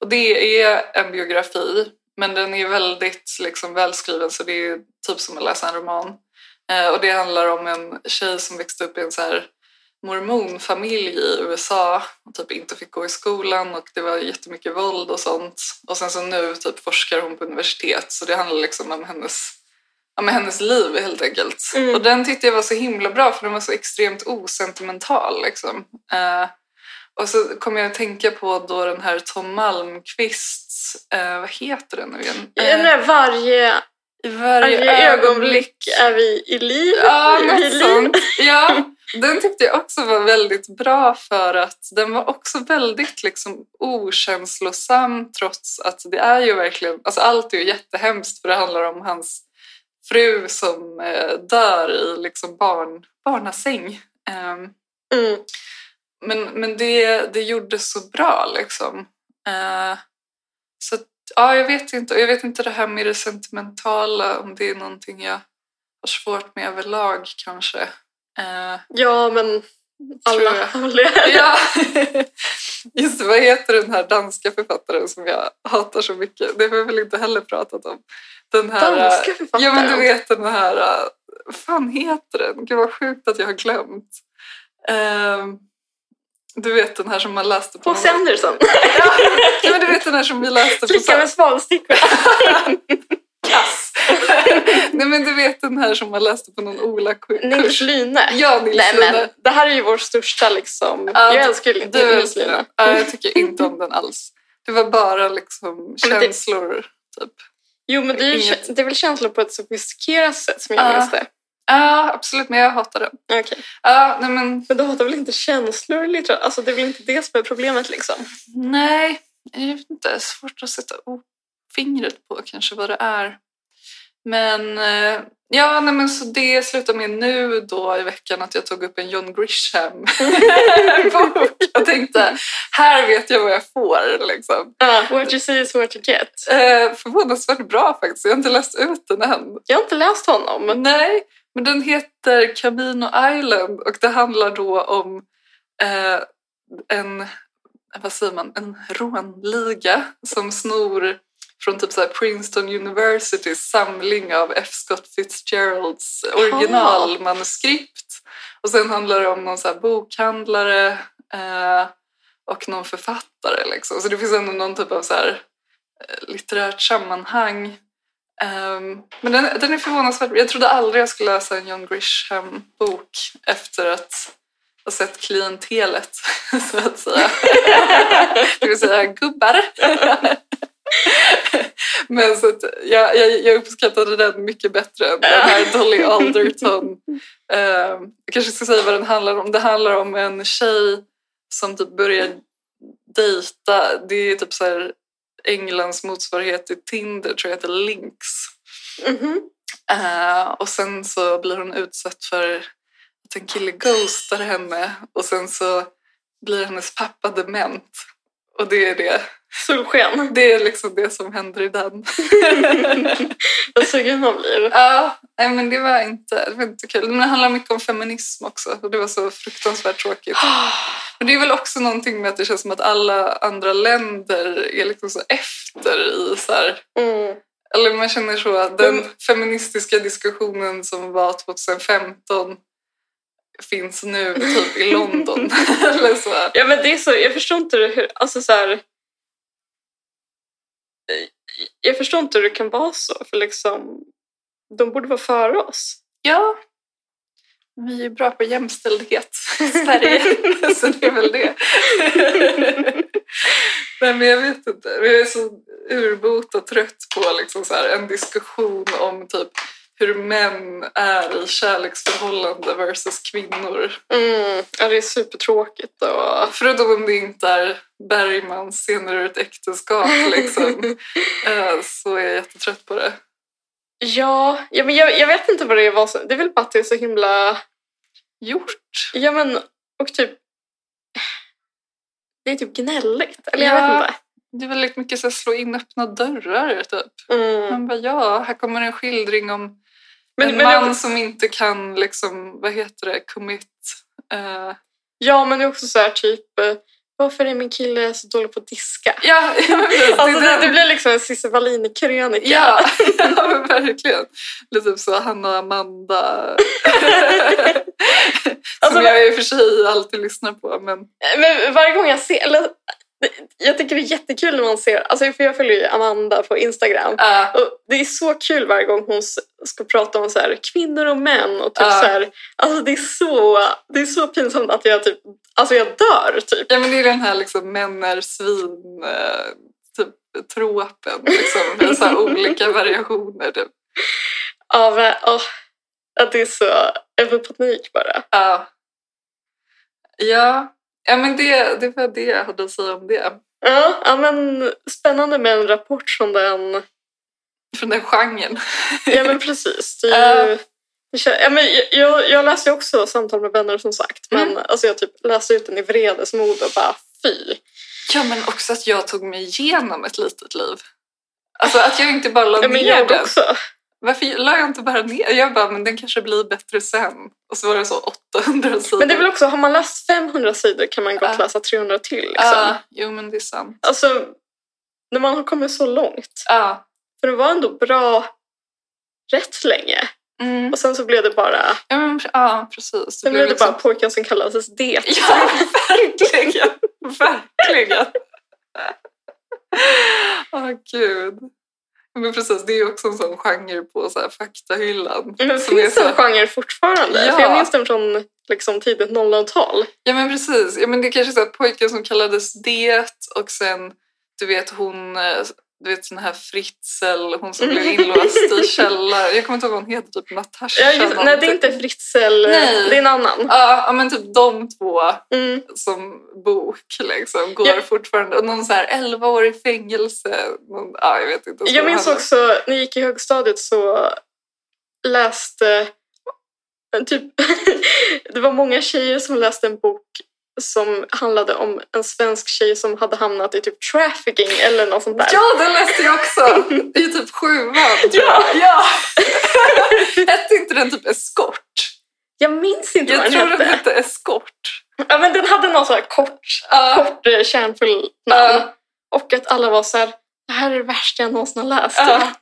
Speaker 3: Och det är en biografi men den är väldigt liksom, välskriven så det är typ som att läsa en roman. Eh, och det handlar om en tjej som växte upp i en så här mormonfamilj i USA och typ inte fick gå i skolan och det var jättemycket våld och sånt. Och sen så nu typ forskar hon på universitet så det handlar liksom om hennes Ja, men hennes liv helt enkelt.
Speaker 2: Mm.
Speaker 3: Och den tyckte jag var så himla bra för den var så extremt osentimental. Liksom. Eh, och så kom jag att tänka på då den här Tom Malmqvists, eh, vad heter den nu igen?
Speaker 2: Ja,
Speaker 3: Eh,
Speaker 2: nej, varje,
Speaker 3: I varje
Speaker 2: varje ögonblick är vi i liv.
Speaker 3: Ja,
Speaker 2: är vi i
Speaker 3: något
Speaker 2: liv.
Speaker 3: sånt. Ja. Den tyckte jag också var väldigt bra för att den var också väldigt liksom okänslosam trots att det är ju verkligen, alltså allt är ju jättehemskt för det handlar om hans fru som eh, dör i liksom barn, barnasäng. Ehm,
Speaker 2: Mm.
Speaker 3: men men det, det gjordes så bra liksom. Eh, så att, ja, jag vet inte. Och jag vet inte det här med det sentimentala, om det är någonting jag har svårt med överlag kanske. Eh,
Speaker 2: Ja, men alla
Speaker 3: Tror jag.
Speaker 2: har väl det.
Speaker 3: Ja. Just det, vad heter den här danska författaren som jag hatar så mycket? Det har vi väl inte heller pratat om. Den här,
Speaker 2: Danska
Speaker 3: eh, Ja, men du
Speaker 2: författare.
Speaker 3: vet den här... eh, Vad fan heter den? Gud vad sjukt att jag har glömt. Ehm, du vet den här som man läste på...
Speaker 2: H.C. Andersen.
Speaker 3: Ja, nej, men du vet den här som vi läste på...
Speaker 2: Flicka med svalstickor.
Speaker 3: Kass. Nej men du vet den här som man läste på någon
Speaker 2: Nils
Speaker 3: Ola-kurs.
Speaker 2: Lyne.
Speaker 3: Ja, Nils
Speaker 2: Nej
Speaker 3: Lune.
Speaker 2: men det här är ju vår största liksom.
Speaker 3: Ja,
Speaker 2: jag älskar ju
Speaker 3: Du
Speaker 2: Nils
Speaker 3: älskar
Speaker 2: Lyne.
Speaker 3: den. Ja, jag tycker inte om den alls. Det var bara liksom
Speaker 2: men det-
Speaker 3: känslor. Typ.
Speaker 2: Jo men det är, ju,
Speaker 3: Inget.
Speaker 2: det är väl känslor på ett sofistikerat sätt som jag
Speaker 3: Ja.
Speaker 2: minns det.
Speaker 3: Ja, absolut. Men jag hatar den.
Speaker 2: Okej.
Speaker 3: Ja, nej men
Speaker 2: Men du hatar väl inte känslor i litteratur? Alltså det är väl inte det som är problemet liksom?
Speaker 3: nej. Jag vet inte. Svårt att sätta o- fingret på kanske vad det är. Men eh, ja, nej men så det slutar med nu då i veckan att jag tog upp en John Grisham-bok. Jag tänkte, här vet jag vad jag får liksom.
Speaker 2: Ja, what you see is what you get.
Speaker 3: Eh, förvånansvärt bra faktiskt. Jag har inte läst ut den än.
Speaker 2: Jag har inte läst honom.
Speaker 3: Nej, men den heter Camino Island och det handlar då om eh, en, vad säger man, en rånliga som snor från typ så här Princeton Universitys samling av F. Scott Fitzgeralds originalmanuskript. Och sen handlar det om någon så här bokhandlare eh, och någon författare. Liksom. Så det finns ändå någon typ av så här, eh, litterärt sammanhang. Ehm, men den, den är förvånansvärt Jag trodde aldrig jag skulle läsa en John Grisham-bok efter att ha sett klientelet, så att säga. det vill säga gubbar. men så att jag, jag, jag uppskattade den mycket bättre än den här Dolly Alderton. Ehm, jag kanske ska säga vad den handlar om. Det handlar om en tjej som typ börjar dejta. Det är typ så här Englands motsvarighet till Tinder tror jag heter Links.
Speaker 2: Mhm.
Speaker 3: Eh, och sen så blir hon utsatt för att en kille ghostar henne och sen så blir hennes pappa dement. Och det är det.
Speaker 2: Solsken.
Speaker 3: Det är liksom det som händer i den.
Speaker 2: Vad sugen man blir.
Speaker 3: Ja, nej, men det var inte, det var inte kul. Men det handlar mycket om feminism också och det var så fruktansvärt tråkigt. Men det är väl också någonting med att det känns som att alla andra länder är liksom så efter i så här
Speaker 2: Mm.
Speaker 3: Eller man känner så att den
Speaker 2: Mm.
Speaker 3: feministiska diskussionen som var 2015 finns nu typ i London. Eller så.
Speaker 2: Ja men det är så, jag förstår inte hur, alltså så här. Jag förstår inte hur det kan vara så, för liksom de borde vara före oss.
Speaker 3: Ja. Vi är ju bra på jämställdhet i Sverige, så det är väl det. Nej, men jag vet inte. Jag är så urbota trött på liksom så här, en diskussion om typ hur män är i kärleksförhållande versus kvinnor.
Speaker 2: Mm. Ja, det är supertråkigt. Och...
Speaker 3: Förutom om det inte är Bergmans scener ur ett äktenskap liksom, eh, så är jag jättetrött på det.
Speaker 2: Ja, ja men jag, jag vet inte vad det var. som- Det är väl bara att det är så himla...
Speaker 3: Gjort?
Speaker 2: Ja men, och typ... Det är typ gnälligt. Eller jag
Speaker 3: Ja.
Speaker 2: vet inte.
Speaker 3: Det är väldigt mycket så här, slå in öppna dörrar typ.
Speaker 2: Mm.
Speaker 3: Man bara ja, här kommer en skildring om
Speaker 2: Men,
Speaker 3: en
Speaker 2: men,
Speaker 3: man
Speaker 2: jag-
Speaker 3: som inte kan liksom, vad heter det, commit. Eh,
Speaker 2: ja men det är också så här typ... eh, Varför är min kille så dålig på att diska?
Speaker 3: ja, ja, men precis, det är
Speaker 2: Alltså det,
Speaker 3: den-
Speaker 2: det blir liksom en Cissi Wallin-krönika.
Speaker 3: Ja, ja men verkligen. Lite typ så Hanna och Amanda.
Speaker 2: Alltså,
Speaker 3: som jag i och för sig alltid lyssnar på. Men
Speaker 2: Men varje gång jag ser... Eller, det- jag tycker det är jättekul när man ser... Alltså för jag följer ju Amanda på Instagram.
Speaker 3: eh,
Speaker 2: Och det är så kul varje gång hon s- ska prata om så här, kvinnor och män. Och typ
Speaker 3: Ja.
Speaker 2: så här, alltså det, är så, det är så pinsamt att jag, typ, alltså jag dör. Typ.
Speaker 3: Ja men det är den här liksom män är svin eh, typ tropen liksom. Med så här olika variationer typ.
Speaker 2: Av, eh, åh, att det är så, jag får panik bara.
Speaker 3: Ja. Ja, ja men det, det var det jag hade att säga om det.
Speaker 2: Ja, ja, men spännande med en rapport som den.
Speaker 3: Från den genren.
Speaker 2: Ja, men precis. Det är ju...
Speaker 3: Ja.
Speaker 2: det kän- Ja, men jag- jag, jag läser ju också Samtal med vänner som sagt. Men
Speaker 3: Mm.
Speaker 2: alltså, jag typ läser ut den i vredesmod och bara fy.
Speaker 3: Ja, men också att jag tog mig igenom ett litet liv. Alltså att jag inte bara la
Speaker 2: Ja, men jag
Speaker 3: ner den.
Speaker 2: också.
Speaker 3: Varför la jag inte bara ner? Jag bara, men den kanske blir bättre sen. Och så var det så 800 sidor.
Speaker 2: Men det är väl också, har man läst 500 sidor kan man gott
Speaker 3: Ja.
Speaker 2: läsa 300 till. Liksom.
Speaker 3: Ja, jo, men det är sant.
Speaker 2: Alltså, när man har kommit så långt.
Speaker 3: Ja.
Speaker 2: För det var ändå bra rätt länge.
Speaker 3: Mm.
Speaker 2: Och sen så blev det bara,
Speaker 3: Ja, men, ja, precis.
Speaker 2: sen blev det
Speaker 3: liksom-
Speaker 2: bara pojken som kallades det.
Speaker 3: Ja, verkligen. verkligen. Åh, gud. Men precis, det är ju också en sån genre på så här, faktahyllan.
Speaker 2: Men
Speaker 3: Mm, Som är
Speaker 2: finns
Speaker 3: så-
Speaker 2: den genren fortfarande?
Speaker 3: Ja.
Speaker 2: För jag minns den från liksom, tidigt 00-tal.
Speaker 3: Ja men precis. Ja, men det är kanske så att pojken som kallades det och sen du vet hon, eh, du vet sån här Fritzl, hon som blev inlåst i källaren. Jag kommer inte ihåg vad hon heter, typ Natasha.
Speaker 2: Ja, just, nej, det
Speaker 3: någonting.
Speaker 2: är inte Fritzl,
Speaker 3: Nej.
Speaker 2: det är en annan.
Speaker 3: Ja, ja, men typ de två
Speaker 2: Mm.
Speaker 3: som bok liksom går
Speaker 2: Ja.
Speaker 3: fortfarande. Och någon så här 11 år i fängelse. Någon, ja, jag vet inte.
Speaker 2: Jag minns också, när jag gick i högstadiet så läste... men Typ, det var många tjejer som läste en bok som handlade om en svensk tjej som hade hamnat i typ trafficking eller något sånt där.
Speaker 3: Ja, den läste jag också! I typ sjuan. tror
Speaker 2: Ja.
Speaker 3: jag. ja. Hette inte den typ eskort?
Speaker 2: Jag minns inte
Speaker 3: Jag
Speaker 2: vad
Speaker 3: tror
Speaker 2: den
Speaker 3: den
Speaker 2: hette.
Speaker 3: hette eskort.
Speaker 2: Ja, men den hade någon sån här kort,
Speaker 3: Ja.
Speaker 2: kort eh, kärnfull namn.
Speaker 3: Ja,
Speaker 2: Och att alla var så här, det här är det värsta jag någonsin har läst.
Speaker 3: ja.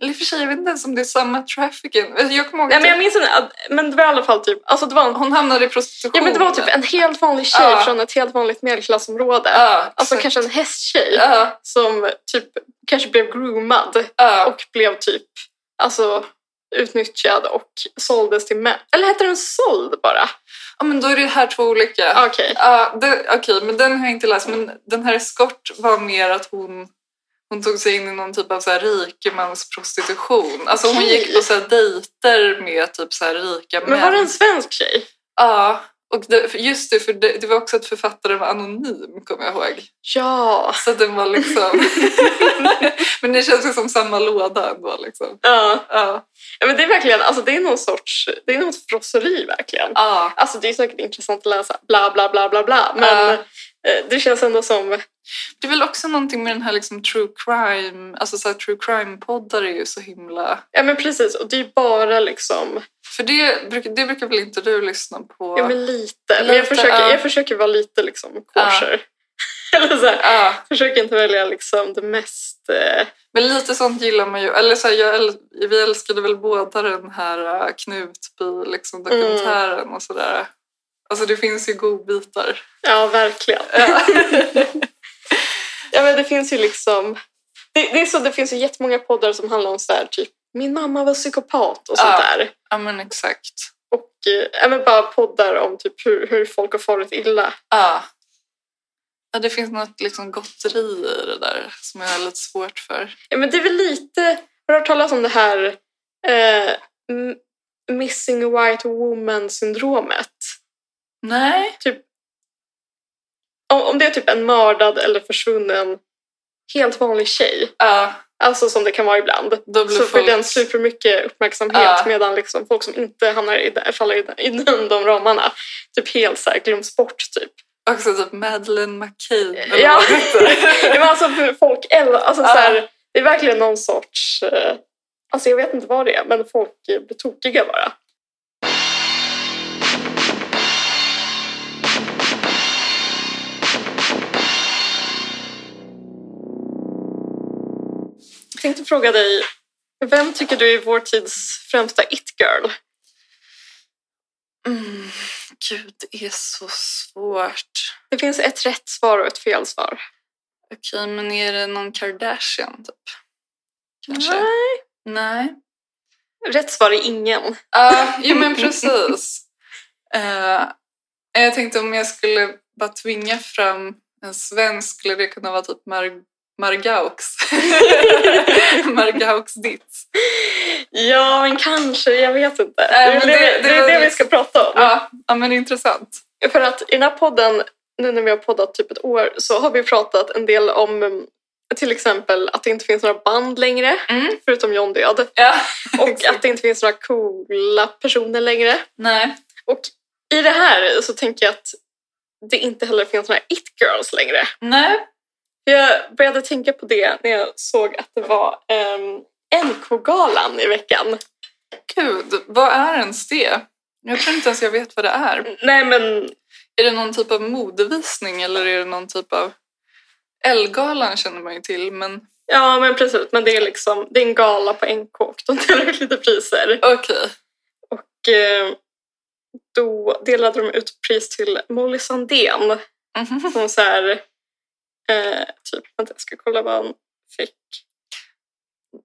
Speaker 3: Eller i och för sig, jag vet inte ens om det är samma trafficking. Jag kommer ihåg
Speaker 2: Nej,
Speaker 3: att
Speaker 2: men jag minns inte, men det var i alla fall typ, alltså det var en,
Speaker 3: hon hamnade i prostitution.
Speaker 2: ja, men det var typ en helt vanlig tjej
Speaker 3: Ja.
Speaker 2: från ett helt vanligt medelklassområde.
Speaker 3: Ja,
Speaker 2: Alltså
Speaker 3: exakt.
Speaker 2: kanske en hästtjej
Speaker 3: Ja,
Speaker 2: som typ kanske blev groomad
Speaker 3: ja.
Speaker 2: och blev typ alltså, utnyttjad och såldes till män. Eller heter den såld bara?
Speaker 3: ja, men då är det här två olika.
Speaker 2: Okej.
Speaker 3: Ja, det- Okej, men den har jag inte läst. Men den här skort var mer att hon, hon tog sig in i någon typ av så här rikemansprostitution. Alltså hon
Speaker 2: Okej.
Speaker 3: gick på så här dejter med typ så här rika män.
Speaker 2: Men var det en svensk tjej?
Speaker 3: Ja, och det, för- just det, för det, det var också att författaren var anonym, kommer jag ihåg.
Speaker 2: Ja.
Speaker 3: Så att den var liksom... men det känns ju som samma låda ändå. Liksom.
Speaker 2: Ja.
Speaker 3: Ja.
Speaker 2: Ja, men det är verkligen, alltså det är någon sorts, det är något frosseri verkligen.
Speaker 3: Ja.
Speaker 2: Alltså det är säkert intressant att läsa bla bla bla bla bla men eh, det känns ändå som,
Speaker 3: Det är väl också någonting med den här liksom true crime, alltså så här, true crime-poddar är ju så himla...
Speaker 2: ja men precis och det är ju bara liksom
Speaker 3: För det, bruk- det brukar väl inte du lyssna på?
Speaker 2: Ja, men lite. men jag,
Speaker 3: Lite,
Speaker 2: försöker,
Speaker 3: ja.
Speaker 2: jag försöker vara lite liksom kosher. Eller så här,
Speaker 3: Ja,
Speaker 2: försöker inte välja liksom det mest... Eh,
Speaker 3: men lite sånt gillar man ju. Eller så här, jag äl- vi älskade väl båda den här uh, Knutby, liksom
Speaker 2: Mm.
Speaker 3: dokumentären och sådär. Alltså det finns ju godbitar.
Speaker 2: ja, verkligen.
Speaker 3: Ja.
Speaker 2: ja, men det finns ju liksom... Det, det är så, det finns ju jättemånga poddar som handlar om så här, typ min mamma var psykopat och sånt
Speaker 3: Ja.
Speaker 2: där.
Speaker 3: ja, men exakt.
Speaker 2: Och eh, ja, men bara poddar om typ hur, hur folk har farit illa.
Speaker 3: Ja. ja, det finns något liksom gotteri i det där som jag har lite svårt för.
Speaker 2: Ja, men det är väl lite... Har du hört talas om det här eh, m- missing white woman-syndromet?
Speaker 3: Nej.
Speaker 2: om, om det är typ en mördad eller försvunnen helt vanlig tjej,
Speaker 3: Ja,
Speaker 2: alltså som det kan vara ibland,
Speaker 3: då blir
Speaker 2: så får
Speaker 3: folk...
Speaker 2: den supermycket uppmärksamhet
Speaker 3: Ja.
Speaker 2: medan liksom folk som inte hamnar i, där- faller i, den- i den, de ramarna typ helt så här glöms bort. Typ.
Speaker 3: Också typ Madeleine McCain. eller
Speaker 2: Ja.
Speaker 3: vad det heter.
Speaker 2: Ja, men alltså, för folk, äl- alltså,
Speaker 3: Ja.
Speaker 2: så här, det är verkligen någon sorts... eh, Alltså jag vet inte vad det är, men folk eh, blir tokiga bara. Jag tänkte fråga dig, vem tycker du är vår tids främsta it-girl?
Speaker 3: mm, gud, det är så svårt.
Speaker 2: Det finns ett rätt svar och ett fel svar.
Speaker 3: Okej, men är det någon Kardashian typ? Kanske?
Speaker 2: Nej.
Speaker 3: Nej.
Speaker 2: Rätt svar är ingen.
Speaker 3: Ja, jo men precis. Eh, jag tänkte om jag skulle bara tvinga fram en svensk skulle det kunna vara typ Mar- Margaux. Margaux ditt.
Speaker 2: Ja, men kanske. Jag vet inte.
Speaker 3: Nej,
Speaker 2: det, är
Speaker 3: Äh, men
Speaker 2: det,
Speaker 3: det-
Speaker 2: det,
Speaker 3: det
Speaker 2: är
Speaker 3: var
Speaker 2: det vi
Speaker 3: just-
Speaker 2: ska prata om.
Speaker 3: Ja, ja men intressant.
Speaker 2: För att i den här podden, nu när vi har poddat typ ett år, så har vi pratat en del om um, till exempel att det inte finns några band längre,
Speaker 3: Mm.
Speaker 2: förutom John Död.
Speaker 3: Ja,
Speaker 2: Och
Speaker 3: exakt.
Speaker 2: att det inte finns några coola personer längre.
Speaker 3: Nej.
Speaker 2: Och i det här så tänker jag att det inte heller finns några it-girls längre.
Speaker 3: Nej.
Speaker 2: Jag började tänka på det när jag såg att det var um, NK-galan i veckan.
Speaker 3: Gud, vad är ens det? Jag tror inte ens jag vet vad det är.
Speaker 2: Nej men
Speaker 3: Är det någon typ av modevisning eller är det någon typ av... Elgalan känner man ju till, men
Speaker 2: Ja, men precis. Men det är liksom det är en gala på NK och de delar ut lite priser.
Speaker 3: okej.
Speaker 2: Och eh, då delade de ut pris till Molly Sandén.
Speaker 3: Mhm.
Speaker 2: Som så här, eh, typ, vänta jag ska kolla vad hon fick.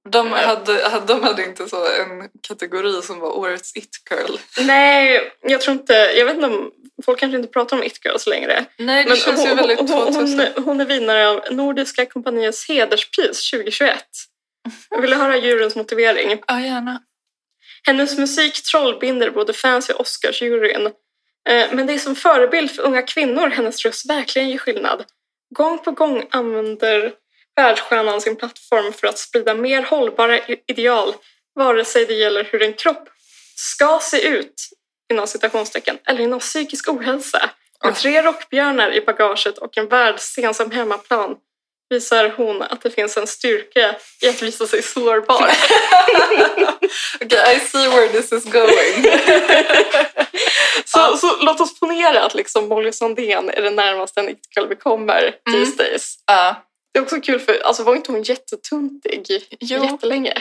Speaker 3: De, hade, hade- de hade inte så en kategori som var årets it-girl.
Speaker 2: Nej, jag tror inte, jag vet inte om, folk kanske inte pratar om It Girls längre.
Speaker 3: Nej, det
Speaker 2: Men
Speaker 3: känns ju
Speaker 2: hon,
Speaker 3: väldigt
Speaker 2: hon,
Speaker 3: 2000.
Speaker 2: hon, hon är vinnare av Nordiska kompaniets hederspris 2021. Jag ville höra djurens motivering.
Speaker 3: Ja, gärna.
Speaker 2: Hennes musik trollbinder både fans i Oscarsjuryn. Eh, Men det är som förebild för unga kvinnor hennes röst verkligen gör skillnad. Gång på gång använder världsstjärnan sin plattform för att sprida mer hållbara i- ideal, vare sig det gäller hur en kropp ska se ut, inom citationstecken, eller inom psykisk ohälsa. Med tre rockbjörnar i bagaget och en världsscen som hemmaplan visar hon att det finns en styrka i att visa sig sårbar.
Speaker 3: Okej, I see where this is going.
Speaker 2: Så, så låt oss ponera att liksom Molly Sandén är det närmaste en iktkväll vi kommer
Speaker 3: Mm.
Speaker 2: these days.
Speaker 3: Ja,
Speaker 2: Det är också kul för alltså var inte hon jättetuntig
Speaker 3: Jo.
Speaker 2: jättelänge?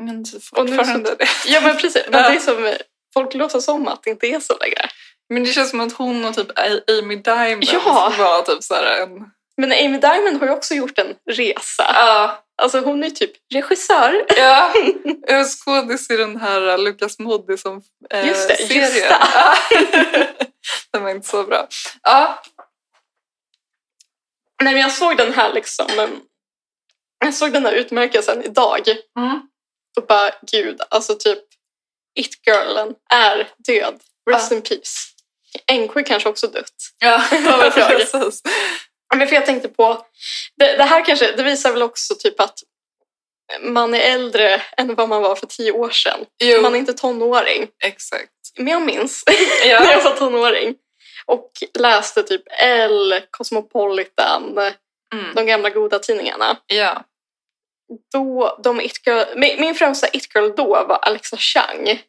Speaker 3: men
Speaker 2: Och nu så-
Speaker 3: fortfarande det.
Speaker 2: Ja men precis, men
Speaker 3: Ja.
Speaker 2: det är som, folk låtsas om att det inte är så längre.
Speaker 3: Men det känns som att hon och typ Amy Diamond
Speaker 2: Ja.
Speaker 3: var typ så här en...
Speaker 2: Men Amy Diamond har ju också gjort en resa.
Speaker 3: Ja,
Speaker 2: Alltså hon är ju typ regissör.
Speaker 3: ja. Jag är skådis i den här eh, Lucas Moody som eh,
Speaker 2: Just det,
Speaker 3: serien.
Speaker 2: Justa.
Speaker 3: Ja. den var inte så bra. Ja,
Speaker 2: Nej men jag såg den här liksom, em, jag såg den här utmärkelsen idag
Speaker 3: mm.
Speaker 2: och bara gud, alltså typ it-girlen är död. Rest
Speaker 3: Ja.
Speaker 2: in peace. NK kanske också dött.
Speaker 3: ja.
Speaker 2: Vad var frågan?
Speaker 3: precis.
Speaker 2: Ja, Men för jag tänkte på, det, det här kanske, det visar väl också typ att man är äldre än vad man var för tio år sedan.
Speaker 3: Jo,
Speaker 2: Man är inte tonåring.
Speaker 3: exakt.
Speaker 2: Men jag minns när jag
Speaker 3: Ja.
Speaker 2: var tonåring och läste typ Elle, Cosmopolitan,
Speaker 3: Mm.
Speaker 2: de gamla goda tidningarna.
Speaker 3: ja.
Speaker 2: Då, de it girl, min, min främsta it-girl då var Alexa Chang.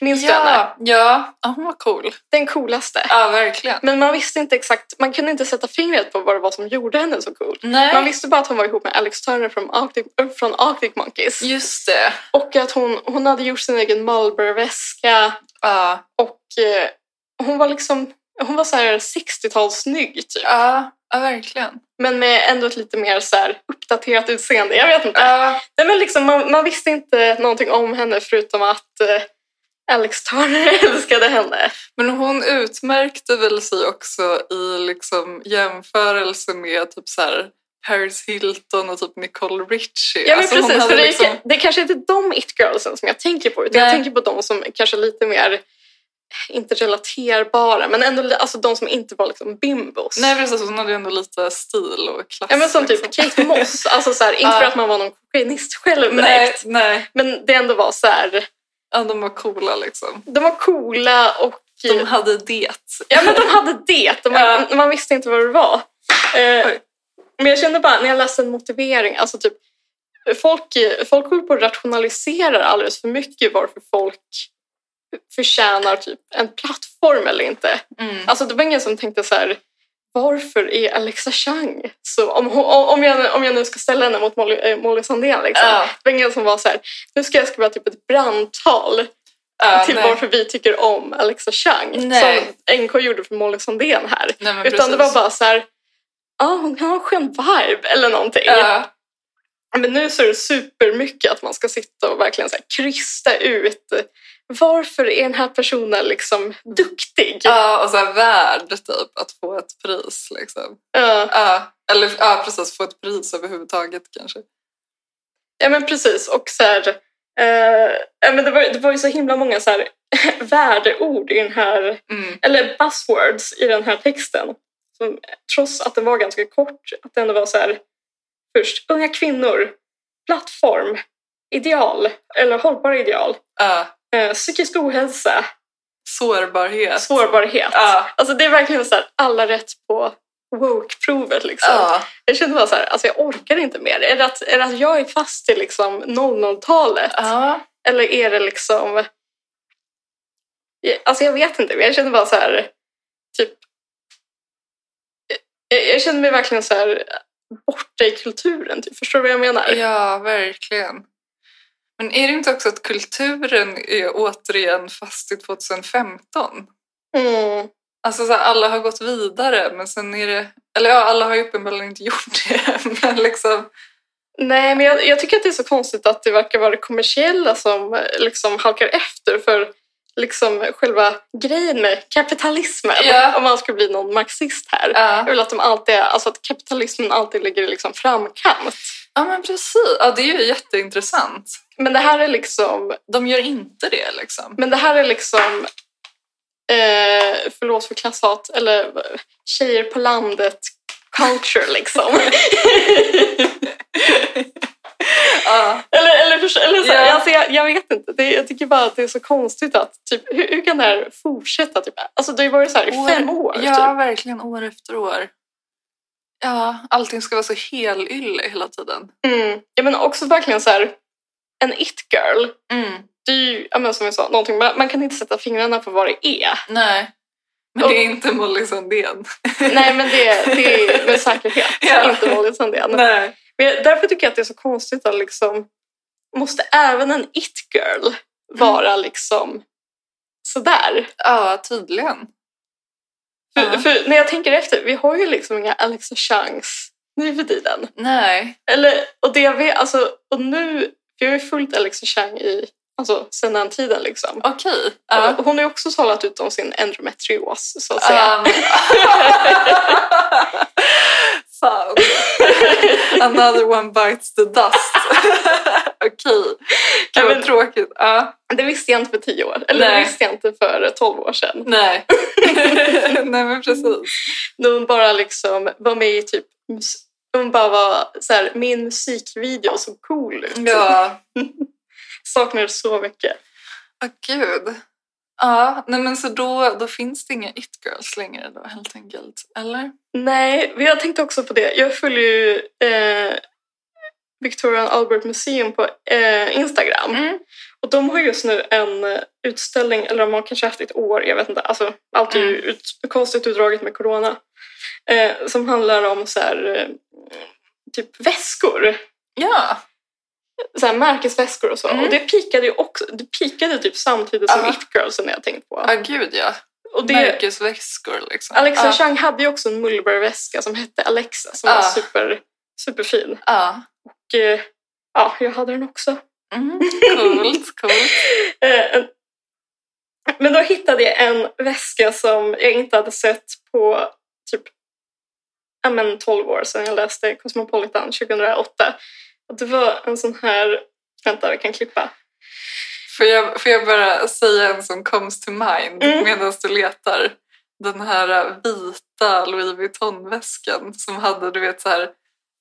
Speaker 2: Minns du henne?
Speaker 3: Ja, ja. ja, hon var cool.
Speaker 2: Den coolaste.
Speaker 3: Ja, verkligen.
Speaker 2: Men man visste inte exakt, man kunde inte sätta fingret på vad det var som gjorde henne så cool.
Speaker 3: Nej,
Speaker 2: Man visste bara att hon var ihop med Alex Turner från Arctic, äh, från Arctic Monkeys.
Speaker 3: just det.
Speaker 2: Och att hon, hon hade gjort sin egen Marlboro-väska.
Speaker 3: Ja,
Speaker 2: Och eh, hon var liksom hon var så här 60-talssnygg typ.
Speaker 3: ja, ja verkligen.
Speaker 2: Men med ändå ett lite mer så här uppdaterat utseende. Jag vet inte.
Speaker 3: Ja,
Speaker 2: Nej, men liksom, man, man visste inte någonting om henne förutom att eh, Alex Turner älskade henne.
Speaker 3: men hon utmärkte väl sig också i liksom jämförelse med typ så här Paris Hilton och typ Nicole Richie.
Speaker 2: Ja, men
Speaker 3: Alltså, hon
Speaker 2: precis,
Speaker 3: hade
Speaker 2: för det, är,
Speaker 3: liksom-
Speaker 2: ka- det är kanske inte de it-girlsen som jag tänker på, utan
Speaker 3: Nej.
Speaker 2: jag tänker på de som kanske lite mer, inte relaterbara, men ändå li- alltså de som inte var liksom bimbos.
Speaker 3: Nej, precis. Hon hade ju ändå lite stil och klass.
Speaker 2: ja, men som
Speaker 3: liksom.
Speaker 2: typ Kate Moss, alltså så här, inte för
Speaker 3: Ja.
Speaker 2: att man var någon kokainist själv
Speaker 3: Nej,
Speaker 2: direkt,
Speaker 3: nej.
Speaker 2: men det ändå var så här,
Speaker 3: Ja, de var coola liksom.
Speaker 2: de var coola och
Speaker 3: De hade det.
Speaker 2: Ja, men de hade det. och Man, man visste inte vad det var. Eh,
Speaker 3: Oj.
Speaker 2: men jag kände bara när jag läste en motivering, alltså typ folk, folk håller på att rationalisera alldeles för mycket varför folk förtjänar typ en plattform eller inte.
Speaker 3: Mm.
Speaker 2: Alltså det var ingen som tänkte så här, varför är Alexa Chang så, om, hon- om, jag, om jag nu ska ställa henne mot Molly, eh, Molly Sandén liksom.
Speaker 3: Ja.
Speaker 2: Det var ingen som var så här, nu ska jag skriva typ ett brandtal
Speaker 3: Ja,
Speaker 2: till
Speaker 3: nej.
Speaker 2: varför vi tycker om Alexa Chang
Speaker 3: Nej.
Speaker 2: som NK gjorde för Molly Sandén här.
Speaker 3: Nej, men
Speaker 2: Utan det var
Speaker 3: precis.
Speaker 2: bara så här, ja hon kan ha en skön vibe eller någonting.
Speaker 3: Ja,
Speaker 2: Men nu så är det supermycket att man ska sitta och verkligen så här krysta ut varför är den här personen liksom duktig?
Speaker 3: ja, och så här värd typ att få ett pris liksom.
Speaker 2: Ja.
Speaker 3: Ja, eller ja, precis. Få ett pris överhuvudtaget kanske.
Speaker 2: Ja men precis och så här, eh, ja, men det, var, det var ju så himla många så här värdeord i den här,
Speaker 3: Mm.
Speaker 2: eller buzzwords i den här texten. Som, trots att den var ganska kort, att det ändå var så här först unga kvinnor, plattform, ideal eller hållbara ideal,
Speaker 3: Ja.
Speaker 2: eh, psykisk ohälsa,
Speaker 3: sårbarhet.
Speaker 2: sårbarhet.
Speaker 3: Ja.
Speaker 2: Alltså det är verkligen så här, alla rätt på woke-provet liksom.
Speaker 3: Ja.
Speaker 2: Jag kände bara så här, alltså jag orkar inte mer. Är det att, är det att jag är fast i liksom 00-talet?
Speaker 3: Ja.
Speaker 2: Eller är det liksom... Jag- Alltså jag vet inte, men jag känner bara så här... Typ... Jag, jag känner mig verkligen så här borta i kulturen. Typ. Förstår du vad jag menar?
Speaker 3: ja, verkligen. Men är det inte också att kulturen är återigen fast i 2015?
Speaker 2: Mm.
Speaker 3: Alltså så här, alla har gått vidare men sen är det... Eller ja, alla har ju uppenbarligen inte gjort det. Men liksom...
Speaker 2: Nej, men jag, jag tycker att det är så konstigt att det verkar vara det kommersiella som eh, liksom halkar efter. För liksom själva grejen med kapitalismen,
Speaker 3: Ja.
Speaker 2: om man ska bli någon marxist här. Jag
Speaker 3: Ja.
Speaker 2: vill att, de alltid, är- alltså att kapitalismen alltid ligger i liksom framkant.
Speaker 3: ja, men precis. Ja, det är ju jätteintressant.
Speaker 2: Men det här är liksom
Speaker 3: De gör inte det liksom.
Speaker 2: Men det här är liksom, eh, förlåt för klasshat, eller tjejer på landet culture liksom.
Speaker 3: Ja.
Speaker 2: eller eller, förs- eller så,
Speaker 3: Ja.
Speaker 2: alltså, jag, jag vet inte, det, jag tycker bara att det är så konstigt att typ, hur, hur kan det här fortsätta? Typ? Alltså det har ju varit så här i fem år.
Speaker 3: Ja,
Speaker 2: Typ.
Speaker 3: verkligen år efter år. Ja, allting ska vara så helylle hela tiden.
Speaker 2: Mm. Ja, men också verkligen så här, en it-girl,
Speaker 3: Mm.
Speaker 2: det är ju ja, men som jag sa, någonting, man, man kan inte sätta fingrarna på vad det är.
Speaker 3: Nej. Men
Speaker 2: Och-
Speaker 3: det är inte Molly Sandén.
Speaker 2: Nej men det, det är med säkerhet
Speaker 3: Ja.
Speaker 2: inte Molly Sandén.
Speaker 3: Nej.
Speaker 2: Men jag- därför tycker jag att det är så konstigt att liksom, måste även en it-girl vara
Speaker 3: Mm.
Speaker 2: liksom sådär?
Speaker 3: Ja, tydligen.
Speaker 2: För,
Speaker 3: Ja.
Speaker 2: för när jag tänker efter, vi har ju liksom inga Alexa Changs nu för tiden.
Speaker 3: Nej.
Speaker 2: Eller, och, det jag vet, alltså, och nu, vi har ju följt Alexa Chang i, alltså, sedan den tiden liksom.
Speaker 3: Okej. Ja.
Speaker 2: Och Hon har ju också talat ut om sin endometrios så att säga.
Speaker 3: Um. Fan. Another one bites the dust. Okej. Gud
Speaker 2: men-
Speaker 3: vad tråkigt. Ja.
Speaker 2: Det visste jag inte för tio år, eller det
Speaker 3: Nej.
Speaker 2: visste jag inte för tolv år sedan.
Speaker 3: Nej. Nej men precis.
Speaker 2: När hon bara liksom var med i typ... mus- Hon bara var så här, min musikvideo såg cool ut.
Speaker 3: Ja.
Speaker 2: Saknar så mycket.
Speaker 3: Åh gud. Ja, nej men så då, då finns det inga it-girls längre då helt enkelt, eller?
Speaker 2: Nej, men jag tänkte också på det. Jag följer ju eh, Victoria and Albert Museum på eh, Instagram.
Speaker 3: Mm.
Speaker 2: Och de har just nu en eh, utställning, eller de har kanske haft ett år, jag vet inte. Alltså, allt är ju ut, konstigt utdraget med corona. Eh, som handlar om så här, eh, typ väskor.
Speaker 3: Ja,
Speaker 2: så här märkesväskor och så.
Speaker 3: Mm.
Speaker 2: Och det pikade ju också, det pikade typ samtidigt som
Speaker 3: Ja.
Speaker 2: It-girlsen jag tänkt på.
Speaker 3: ja gud ja.
Speaker 2: Och det,
Speaker 3: Märkesväskor liksom.
Speaker 2: Alexa
Speaker 3: ja.
Speaker 2: Chang hade ju också en mullbergväska som hette Alexa som
Speaker 3: Ja.
Speaker 2: var super, superfin.
Speaker 3: Ja.
Speaker 2: Och eh, ja, jag hade den också.
Speaker 3: Mm, coolt, coolt.
Speaker 2: Eh, en- Men då hittade jag en väska som jag inte hade sett på typ ja, men 12 år sedan jag läste Cosmopolitan 2008. Och det var en sån här, vänta vi kan klippa.
Speaker 3: Får jag, får jag bara säga en som comes to mind
Speaker 2: Mm.
Speaker 3: medan du letar? Den här eh, vita Louis Vuitton-väskan som hade, du vet så här,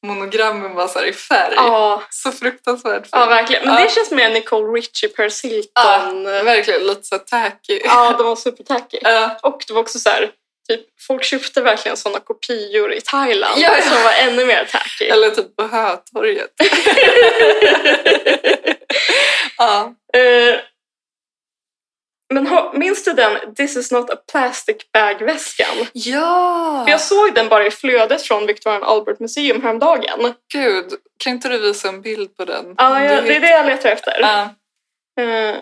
Speaker 3: monogrammen var så här i färg.
Speaker 2: Ja,
Speaker 3: Så fruktansvärt
Speaker 2: Ja,
Speaker 3: fint.
Speaker 2: verkligen. Men
Speaker 3: Ja.
Speaker 2: det känns mer Nicole Richie, Paris Hilton.
Speaker 3: ja,
Speaker 2: Ja,
Speaker 3: verkligen lite så här tacky.
Speaker 2: de var supertacky.
Speaker 3: Ja.
Speaker 2: Och det var också så här, typ, folk köpte verkligen sådana kopior i Thailand
Speaker 3: Ja, ja.
Speaker 2: som var ännu mer tacky.
Speaker 3: Eller typ på Hötorget. ja.
Speaker 2: Eh, men ha, minns du den This is not a plastic bag-väskan?
Speaker 3: ja!
Speaker 2: För Jag såg den bara i flödet från Victoria and Albert Museum häromdagen.
Speaker 3: Gud, kan inte du visa en bild på den?
Speaker 2: Ja, jag,
Speaker 3: Du
Speaker 2: det är det jag letar efter.
Speaker 3: Ja.
Speaker 2: Eh,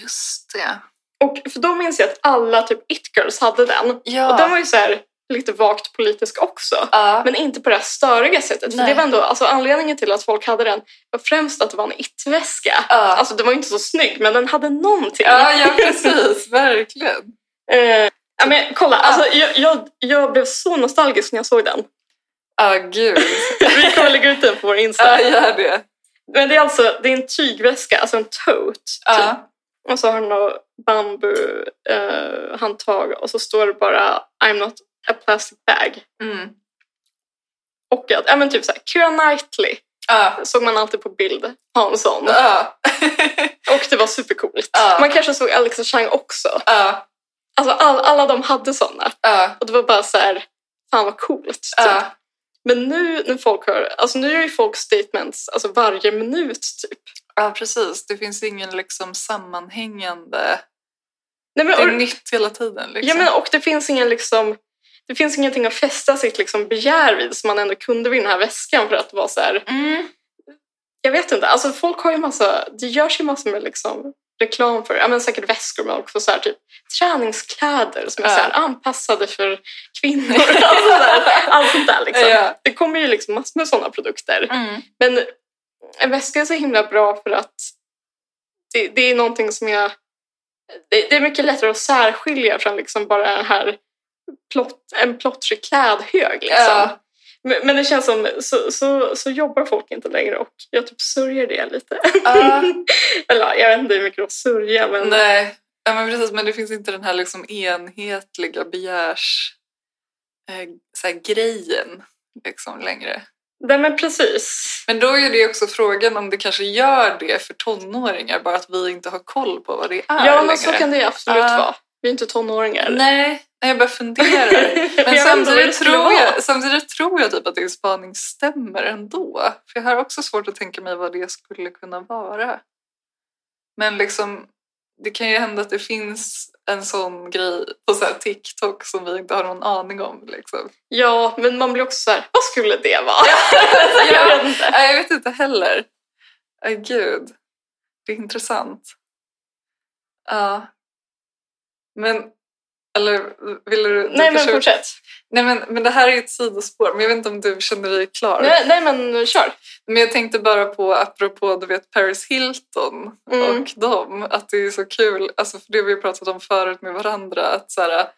Speaker 3: just det.
Speaker 2: och för då minns jag att alla typ it-girls hade den.
Speaker 3: Ja.
Speaker 2: Och den var ju så här lite vagt politisk också.
Speaker 3: ja.
Speaker 2: Men inte på det här störiga sättet. För
Speaker 3: Nej.
Speaker 2: det var ändå, alltså, anledningen till att folk hade den var främst att det var en it-väska.
Speaker 3: ja.
Speaker 2: Alltså den var ju inte så snygg men den hade någonting.
Speaker 3: ja, ja, precis. Verkligen.
Speaker 2: Eh, ja, men kolla, alltså, jag, jag, jag blev så nostalgisk när jag såg den.
Speaker 3: Ja, Ah, gud.
Speaker 2: Vi kommer lägga ut den på vår Insta.
Speaker 3: Ja, gör det.
Speaker 2: Men det är alltså det är en tygväska, alltså en tote. Typ.
Speaker 3: Ja.
Speaker 2: Och så har den några bambuhandtag eh, handtag och så står det bara I'm not a plastic bag.
Speaker 3: Mm.
Speaker 2: Och att, ja men typ såhär, Keira Knightley
Speaker 3: Ja.
Speaker 2: såg man alltid på bild ha en sån.
Speaker 3: Ja.
Speaker 2: Och det var supercoolt.
Speaker 3: Ja.
Speaker 2: Man kanske såg Alexa Chang också.
Speaker 3: Ja.
Speaker 2: Alltså all, alla de hade såna.
Speaker 3: Ja.
Speaker 2: Och det var bara så här, fan vad coolt. Typ.
Speaker 3: Ja.
Speaker 2: Men nu när folk hör, alltså nu är ju folk statements alltså varje minut typ.
Speaker 3: Ja, Ah, precis. Det finns ingen liksom sammanhängande...
Speaker 2: Nej, men,
Speaker 3: Det är
Speaker 2: och,
Speaker 3: nytt hela tiden. Liksom.
Speaker 2: ja, men, och det finns ingen liksom, det finns ingenting att fästa sitt liksom begär vid som man ändå kunde vid den här väskan för att vara så här,
Speaker 3: Mm.
Speaker 2: jag vet inte, alltså folk har ju massa, det görs ju massor med liksom reklam för, ja men säkert väskor men också så här typ träningskläder som är
Speaker 3: Ja.
Speaker 2: så här anpassade för kvinnor. Allt sånt där, allt sånt där liksom.
Speaker 3: Ja.
Speaker 2: Det kommer ju liksom massor med sådana produkter.
Speaker 3: Mm.
Speaker 2: Men en väska är så himla bra för att det, det är någonting som jag... Det, det är mycket lättare att särskilja från liksom bara den här plott, en plottrig klädhög. Liksom.
Speaker 3: Ja.
Speaker 2: Men, men det känns som så, så, så jobbar folk inte längre och jag typ sörjer det lite.
Speaker 3: Ja.
Speaker 2: Eller ja, jag vet inte hur mycket att sörja men
Speaker 3: Nej, ja, men precis. Men det finns inte den här liksom enhetliga begärs... Eh, så här, grejen liksom längre.
Speaker 2: Nej, men precis.
Speaker 3: Men då är det också frågan om det kanske gör det för tonåringar, bara att vi inte har koll på vad det är
Speaker 2: Ja men
Speaker 3: längre. Ah.
Speaker 2: så kan det ju absolut
Speaker 3: Ja.
Speaker 2: vara. Vi är inte tonåringar.
Speaker 3: Nej, nej, jag bara funderar. Men
Speaker 2: jag vet inte vad det
Speaker 3: samtidigt
Speaker 2: skulle
Speaker 3: tror,
Speaker 2: vara.
Speaker 3: jag, samtidigt tror jag typ att din spaning stämmer ändå. För jag har också svårt att tänka mig vad det skulle kunna vara. Men liksom, det kan ju hända att det finns en sån grej på så här TikTok som vi inte har någon aning om. Liksom.
Speaker 2: Ja, men man blir också så här, vad skulle det vara?
Speaker 3: Ja.
Speaker 2: jag vet inte.
Speaker 3: Nej, jag vet inte heller. Ay, gud, det är intressant. Ja. Men, eller ville du? du
Speaker 2: Nej men
Speaker 3: kanske-
Speaker 2: fortsätt.
Speaker 3: Nej, men, men det här är ju ett sidospår, men jag vet inte om du känner dig klar.
Speaker 2: Nej, nej men kör.
Speaker 3: Men jag tänkte bara på, apropå du vet Paris Hilton
Speaker 2: Mm.
Speaker 3: och dem, att det är så kul, alltså för det har vi ju pratat om förut med varandra, att så här,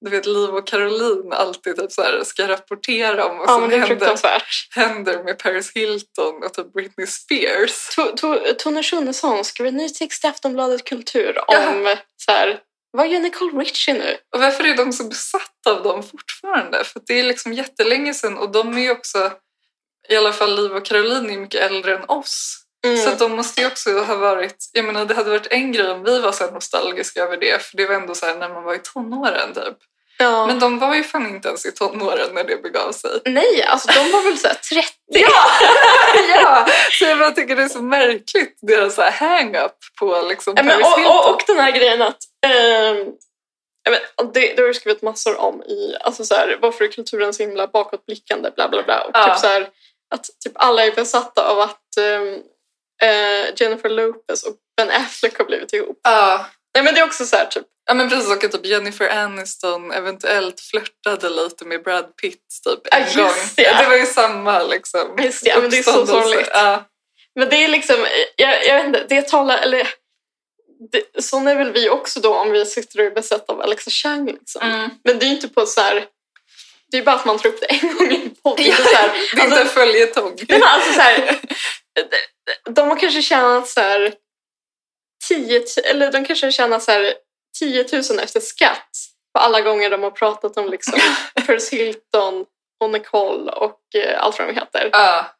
Speaker 3: du vet Liv och Caroline alltid typ så här, ska rapportera om vad
Speaker 2: Ja, men
Speaker 3: som
Speaker 2: det är
Speaker 3: händer,
Speaker 2: fruktansvärt.
Speaker 3: händer med Paris Hilton och typ Britney Spears.
Speaker 2: To- to- Tone Schunnesson skriver ny text i Aftonbladet Kultur
Speaker 3: Ja.
Speaker 2: om så här, vad gör Nicole Richie nu?
Speaker 3: Och varför är de så besatta av dem fortfarande? För att det är liksom jättelänge sedan och de är ju också, i alla fall Liv och Caroline är mycket äldre än oss. Så
Speaker 2: Mm.
Speaker 3: att de måste ju också ha varit, jag menar det hade varit en grej om vi var så här nostalgiska över det, för det var ändå så här när man var i tonåren typ.
Speaker 2: ja.
Speaker 3: Men de var ju fan inte ens i tonåren när det begav sig.
Speaker 2: Nej, alltså de var väl så här 30.
Speaker 3: ja! Så jag bara tycker det är så märkligt, deras så här hang-up på liksom
Speaker 2: Ja, men,
Speaker 3: Paris Hilton.
Speaker 2: och, och, och den här grejen att ehm, ja, men, det, det har jag skrivit massor om i alltså, så här, varför är kulturen så himla bakåtblickande bla bla bla. Och
Speaker 3: Ja.
Speaker 2: typ, så här, att typ alla är besatta av att ehm, eh, Jennifer Lopez och Ben Affleck har blivit ihop.
Speaker 3: Ja.
Speaker 2: Nej men det är också så här typ,
Speaker 3: Ja men precis, och att typ Jennifer Aniston eventuellt flörtade lite med Brad Pitt typ en
Speaker 2: Ja, just
Speaker 3: gång.
Speaker 2: det.
Speaker 3: Ja, det var ju samma liksom
Speaker 2: Just det, ja, men det är så
Speaker 3: uppståndelse.
Speaker 2: sorgligt.
Speaker 3: Ja.
Speaker 2: men det är liksom, jag, jag vet inte, det talar, eller det, sån är väl vi också då om vi sitter och är besatta av Alexa Chang liksom.
Speaker 3: Mm.
Speaker 2: Men det är ju inte på så här, det är bara att man tar upp det en gång i en podd. Det är
Speaker 3: Ja,
Speaker 2: inte så här,
Speaker 3: Det är inte en följetong.
Speaker 2: Nej, Alltså- men alltså så här, de- de har kanske tjänat så här 10, t- eller de kanske har tjänat så här 10 000 efter skatt på alla gånger de har pratat om liksom Paris Hilton och Nicole och eh, allt vad de heter.
Speaker 3: Ja.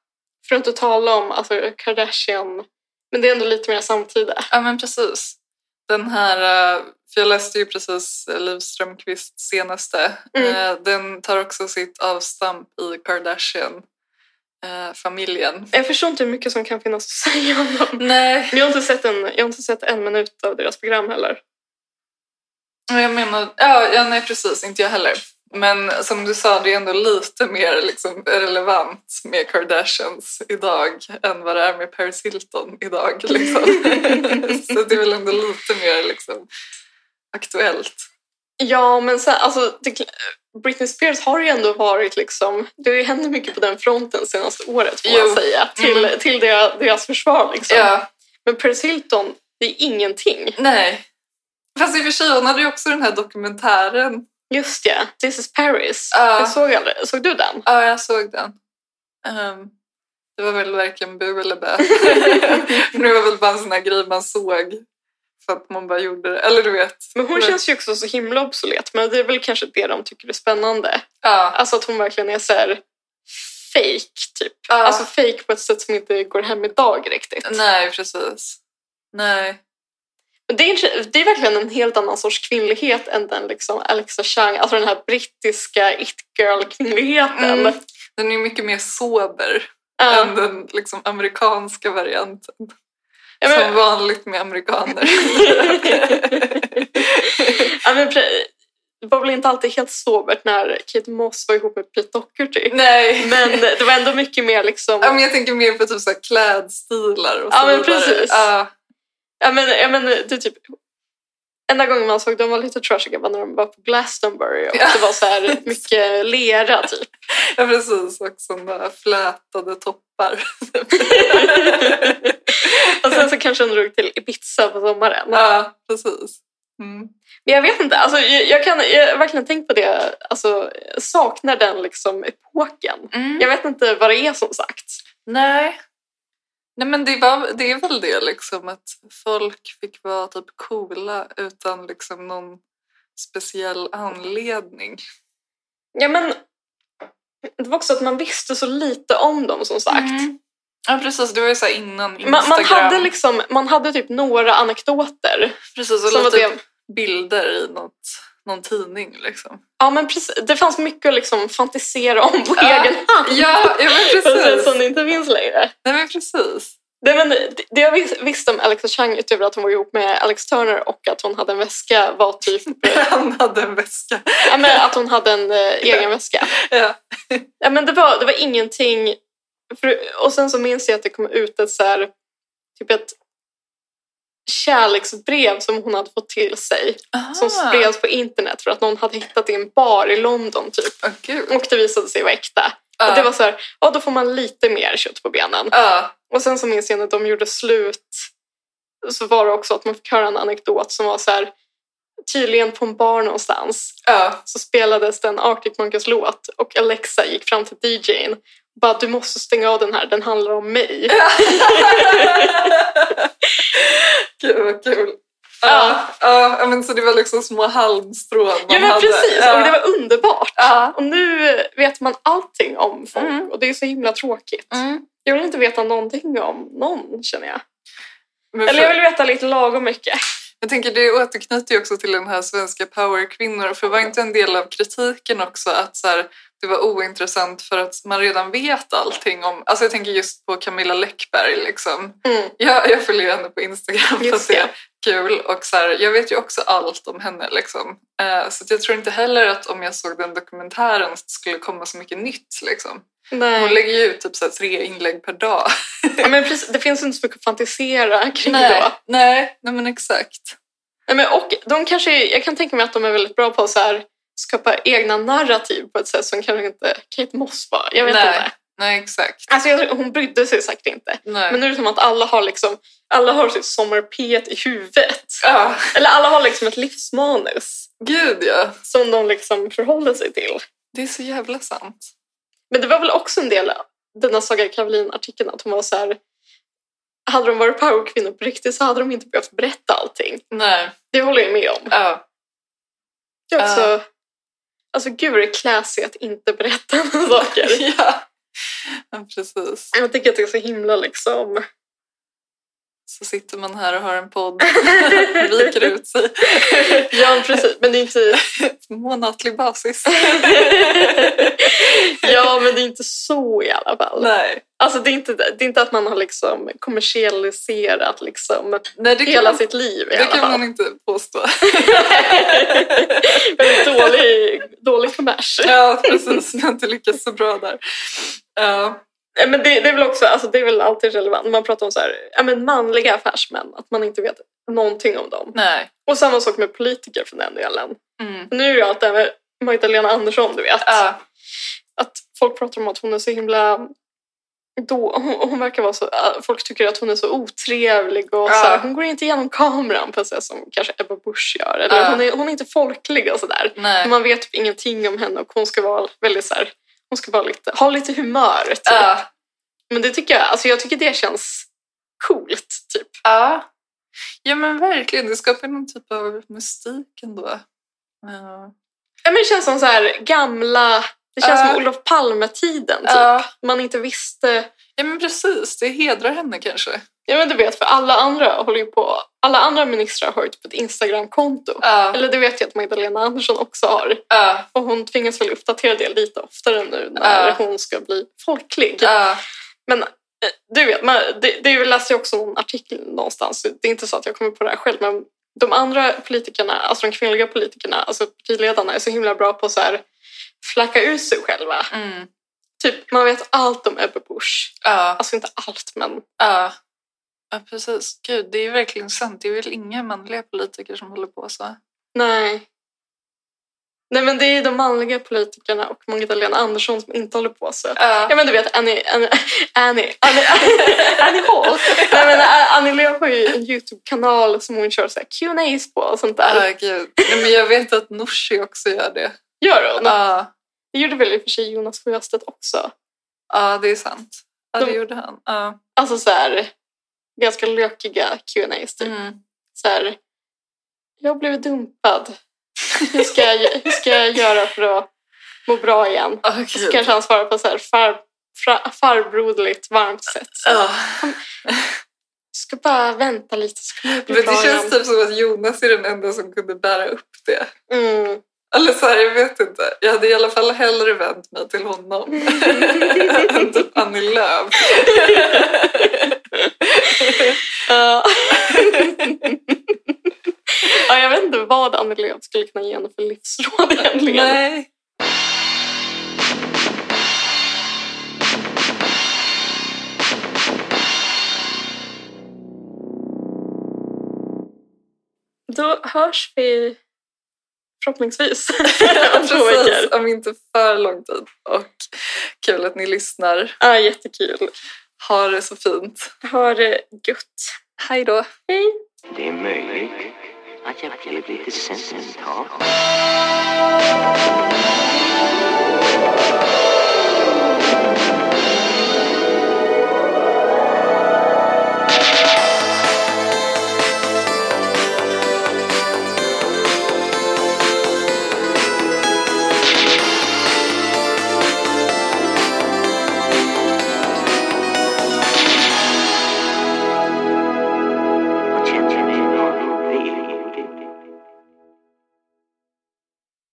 Speaker 2: För att inte tala om alltså, Kardashian, men det är ändå lite mer samtida.
Speaker 3: Ja, men precis. Den här, eh, för jag läste ju precis eh, Liv Strömquists senaste.
Speaker 2: Mm.
Speaker 3: Eh, Den tar också sitt avstamp i eh, Kardashian-familjen.
Speaker 2: Jag förstår inte hur mycket som kan finnas att säga om dem.
Speaker 3: Nej,
Speaker 2: Men Jag har, inte sett en, jag har inte sett en minut av deras program heller.
Speaker 3: men jag menar, ja, ja, nej precis, inte jag heller. Men som du sa, det är ändå lite mer liksom relevant med Kardashians idag än vad det är med Paris Hilton idag. Liksom. Så det är väl ändå lite mer liksom, aktuellt.
Speaker 2: Ja, men sen, alltså, det, Britney Spears har ju ändå varit liksom... Det har ju hänt mycket på den fronten senaste året får man
Speaker 3: Jo.
Speaker 2: säga. Till,
Speaker 3: Mm.
Speaker 2: till deras, deras försvar liksom.
Speaker 3: Ja.
Speaker 2: Men Paris Hilton, det är ingenting.
Speaker 3: Nej. Fast i och för sig, hon hade ju också den här dokumentären.
Speaker 2: Just det, This is Paris.
Speaker 3: Ja.
Speaker 2: Jag såg aldrig. Såg du den?
Speaker 3: Ja, jag såg den. Ehm, det var väl varken bu eller bä. Men det var väl bara en sån här grej man såg för att man bara gjorde det. Eller du vet.
Speaker 2: Men hon känns ju också så himla obsolet. Men det är väl kanske det de tycker är spännande.
Speaker 3: Ja.
Speaker 2: Alltså att hon verkligen är så här fake typ.
Speaker 3: ja.
Speaker 2: Alltså fake på ett sätt som inte går hem idag riktigt.
Speaker 3: nej, precis. Nej.
Speaker 2: Men Det är, inte- det är verkligen en helt annan sorts kvinnlighet än den liksom Alexa Chang, alltså den här brittiska it-girl-kvinnigheten.
Speaker 3: Mm. Den är ju mycket mer sober
Speaker 2: Ja.
Speaker 3: än den liksom, amerikanska varianten.
Speaker 2: Ja, men-
Speaker 3: Som vanligt med amerikaner.
Speaker 2: ja, men pre- det var väl inte alltid helt sobert när Kate Moss var ihop med Pete Doherty.
Speaker 3: nej.
Speaker 2: Men det var ändå mycket mer liksom...
Speaker 3: Ja, men jag tänker mer på typ så här klädstilar och så
Speaker 2: Ja, men
Speaker 3: vidare.
Speaker 2: precis.
Speaker 3: Ja,
Speaker 2: Ja, men, ja, men det är typ... Enda gången man såg dem var lite trashiga var när de var på Glastonbury och
Speaker 3: Ja.
Speaker 2: det var så här mycket lera typ.
Speaker 3: ja, precis. Och sådana här flätade toppar.
Speaker 2: och sen så kanske de drog till Ibiza på sommaren.
Speaker 3: ja, precis. Mm.
Speaker 2: Men jag vet inte, alltså, jag, jag, kan, jag har verkligen tänkt på det, alltså, jag saknar den liksom epoken.
Speaker 3: Mm.
Speaker 2: Jag vet inte vad det är som sagt.
Speaker 3: Nej. Nej, men det, var, det är väl det liksom att folk fick vara typ coola utan liksom någon speciell anledning.
Speaker 2: Ja, men, det var också att man visste så lite om dem som sagt.
Speaker 3: Mm. Ja, precis. Det var ju så här innan Instagram.
Speaker 2: Man, man, hade liksom, man hade typ några anekdoter.
Speaker 3: precis, och
Speaker 2: som var
Speaker 3: lite
Speaker 2: det.
Speaker 3: bilder i något, någon tidning liksom.
Speaker 2: Ja, men precis, det fanns mycket att liksom fantisera om på
Speaker 3: Ja.
Speaker 2: egen hand.
Speaker 3: Ja, ja men
Speaker 2: På ett sätt
Speaker 3: precis.
Speaker 2: som det inte finns längre.
Speaker 3: Nej, men precis.
Speaker 2: Det, men, det- det jag vis- visste om Alexa Chang utöver att hon var ihop med Alex Turner och att hon hade en väska var typ
Speaker 3: Han hade en väska.
Speaker 2: ja, men, att hon hade en eh, egen väska.
Speaker 3: Ja.
Speaker 2: Ja, men det, var, det var ingenting. För, och sen så minns jag att det kom ut ett, så här, typ ett kärleksbrev som hon hade fått till sig. Som spreds på internet för att någon hade hittat i en bar i London. typ.
Speaker 3: Åh, gud.
Speaker 2: Och det visade sig vara äkta.
Speaker 3: Ja.
Speaker 2: Och det var så här, ja då får man lite mer kött på benen.
Speaker 3: Ja.
Speaker 2: Och sen så minns jag när de gjorde slut så var det också att man fick höra en anekdot som var så här, tydligen på en bar någonstans
Speaker 3: Ja.
Speaker 2: så spelades den Arctic Monkeys låt och Alexa gick fram till DJn och bara du måste stänga av den här, den handlar om mig.
Speaker 3: Gud vad kul.
Speaker 2: Ja.
Speaker 3: Ja. Ja. ja, men så det var liksom små halmstrån man
Speaker 2: Ah. ja men
Speaker 3: hade.
Speaker 2: precis,
Speaker 3: Ja.
Speaker 2: och det var underbart.
Speaker 3: Ja.
Speaker 2: Och nu vet man allting om folk
Speaker 3: Mm.
Speaker 2: och det är så himla tråkigt. Jag vill inte veta någonting om någon känner jag.
Speaker 3: Men för,
Speaker 2: Eller jag vill veta lite lagom mycket.
Speaker 3: jag tänker det återknyter ju också till den här svenska powerkvinnor. För var inte en del av kritiken också att så här, det var ointressant för att man redan vet allting om... Alltså jag tänker just på Camilla Läckberg liksom.
Speaker 2: Mm.
Speaker 3: Jag, jag följer ju henne på Instagram för
Speaker 2: Just
Speaker 3: att det är kul. Och så här, jag vet ju också allt om henne. Liksom. Eh, så att jag tror inte heller att om jag såg den dokumentären så skulle komma så mycket nytt. Liksom. Hon
Speaker 2: Nej.
Speaker 3: lägger ju ut typ så här, tre inlägg per dag.
Speaker 2: Ja, men precis, det finns inte så mycket att fantisera kring då.
Speaker 3: nej, nej men exakt.
Speaker 2: Nej, men och de kanske, jag kan tänka mig att de är väldigt bra på att så här, skapa egna narrativ på ett sätt som kanske inte Kate Moss var. Jag vet
Speaker 3: nej.
Speaker 2: inte.
Speaker 3: nej, exakt.
Speaker 2: Alltså jag, hon brydde sig säkert inte.
Speaker 3: Nej.
Speaker 2: Men nu är det som att alla har, liksom, alla har sitt sommar-P1 i huvudet.
Speaker 3: Ah,
Speaker 2: Eller alla har liksom ett livsmanus
Speaker 3: gud ja,
Speaker 2: som de liksom förhåller sig till.
Speaker 3: det är så jävla sant.
Speaker 2: Men det var väl också en del av denna Saga Karolin-artikeln att hon var så här... Hade de varit powerkvinnor på riktigt så hade de inte behövt berätta allting.
Speaker 3: Nej,
Speaker 2: Det håller jag med om.
Speaker 3: ja.
Speaker 2: Det är också,
Speaker 3: Ja.
Speaker 2: Eh. Alltså gud det är classy att inte berätta saker.
Speaker 3: ja. ja, precis.
Speaker 2: Jag tycker att det är så himla liksom...
Speaker 3: Så sitter man här och har en podd, viker ut sig
Speaker 2: ja, precis. Men det är inte...
Speaker 3: på månatlig basis.
Speaker 2: ja, men det är inte så i alla fall.
Speaker 3: Nej.
Speaker 2: Alltså, det, är inte, det är inte att man har liksom kommersialiserat liksom
Speaker 3: Nej, det kan,
Speaker 2: hela
Speaker 3: man,
Speaker 2: sitt liv i
Speaker 3: det
Speaker 2: alla
Speaker 3: kan man
Speaker 2: fall.
Speaker 3: inte påstå.
Speaker 2: Väldigt dålig, dålig kommers.
Speaker 3: ja, precis. Jag har inte lyckats så bra där. Ja,
Speaker 2: Nej, Men det, det, är väl också, alltså, det är väl alltid relevant när man pratar om så här, ja, men manliga affärsmän, att man inte vet någonting om dem.
Speaker 3: nej.
Speaker 2: Och samma sak med politiker för den delen.
Speaker 3: Mm.
Speaker 2: Nu är ju allt det här med Magdalena Andersson, du vet.
Speaker 3: Ja,
Speaker 2: att folk pratar om att hon är så himla... Då, hon, hon verkar vara så... äh, Folk tycker att hon är så otrevlig och
Speaker 3: Ja.
Speaker 2: så här, hon går inte igenom kameran på ett sätt som kanske Ebba Busch gör. Eller
Speaker 3: Ja.
Speaker 2: hon, är, hon är inte folklig och sådär.
Speaker 3: nej.
Speaker 2: Man vet typ ingenting om henne och hon ska vara väldigt så här, hon ska vara lite, ha lite humör. Typ.
Speaker 3: Ja,
Speaker 2: Men det tycker jag, alltså jag tycker det känns coolt typ.
Speaker 3: ja. Ja men verkligen, det skapar någon typ av mystik ändå. Ja,
Speaker 2: Ja, men det känns som så här gamla... Det känns
Speaker 3: Ja.
Speaker 2: som Olof Palme-tiden. Typ.
Speaker 3: ja.
Speaker 2: Man inte visste...
Speaker 3: ja men precis, det hedrar henne kanske.
Speaker 2: Ja, men du vet, för alla andra håller ju på... Alla andra ministrar har ju typ ett Instagram-konto.
Speaker 3: Ja,
Speaker 2: Eller det vet jag att Magdalena Andersson också har.
Speaker 3: ja,
Speaker 2: Och hon tvingas väl uppdatera det lite oftare nu när
Speaker 3: Ja.
Speaker 2: hon ska bli folklig.
Speaker 3: ja.
Speaker 2: Men eh, du vet, man, det, det läste jag också någon artikel någonstans. Det är inte så att jag kommer på det här själv, men de andra politikerna, alltså de kvinnliga politikerna, alltså partiledarna är så himla bra på att så här flacka ut sig själva.
Speaker 3: Mm.
Speaker 2: Typ, man vet allt om Ebbe Busch.
Speaker 3: ja,
Speaker 2: Alltså inte allt, men
Speaker 3: ja. Ja, precis. Gud, det är verkligen sant. Det är väl inga manliga politiker som håller på så.
Speaker 2: nej. Nej, men det är de manliga politikerna och Magdalena Andersson som inte håller på så.
Speaker 3: Ja,
Speaker 2: Ja men du vet Annie, Annie, Annie, Annie, Annie Hall. Nej, men Ä- Annie Lööf har ju en YouTube-kanal som hon kör så här Q&As på och sånt där.
Speaker 3: ja gud. Nej, men jag vet att Nooshi också gör det.
Speaker 2: Gör hon?
Speaker 3: Ja.
Speaker 2: Det gjorde väl i och för sig Jonas Sjöstedt också.
Speaker 3: Ja, det är sant. Ja, det
Speaker 2: De-
Speaker 3: gjorde han. Ja.
Speaker 2: Alltså så här ganska lökiga Q&As typ.
Speaker 3: Mm.
Speaker 2: Så här, jag blev dumpad. Hur ska jag, hur ska jag göra för att må bra igen?
Speaker 3: Oh,
Speaker 2: Och så kanske han svarar på så här far, fra, farbroderligt varmt sätt. Så,
Speaker 3: Ja.
Speaker 2: Du ska bara vänta lite så kommer jag bli
Speaker 3: Men
Speaker 2: bra
Speaker 3: det känns
Speaker 2: igen.
Speaker 3: typ som att Jonas är den enda som kunde bära upp det.
Speaker 2: Mm.
Speaker 3: Eller så här, jag vet inte. Jag hade i alla fall hellre vänt mig till honom än typ Annie Lööf.
Speaker 2: Ja. ja, jag vet inte vad Annie Lööf skulle kunna ge henne för livsråd egentligen.
Speaker 3: Nej.
Speaker 2: Då hörs vi förhoppningsvis om två
Speaker 3: Precis,
Speaker 2: veckor.
Speaker 3: om inte för lång tid. Och kul att ni lyssnar.
Speaker 2: Ja, jättekul.
Speaker 3: Ha det så fint.
Speaker 2: Ha det gött.
Speaker 3: Hej då.
Speaker 2: Hej!
Speaker 1: Det är möjligt att jag skulle bli lite sentimental.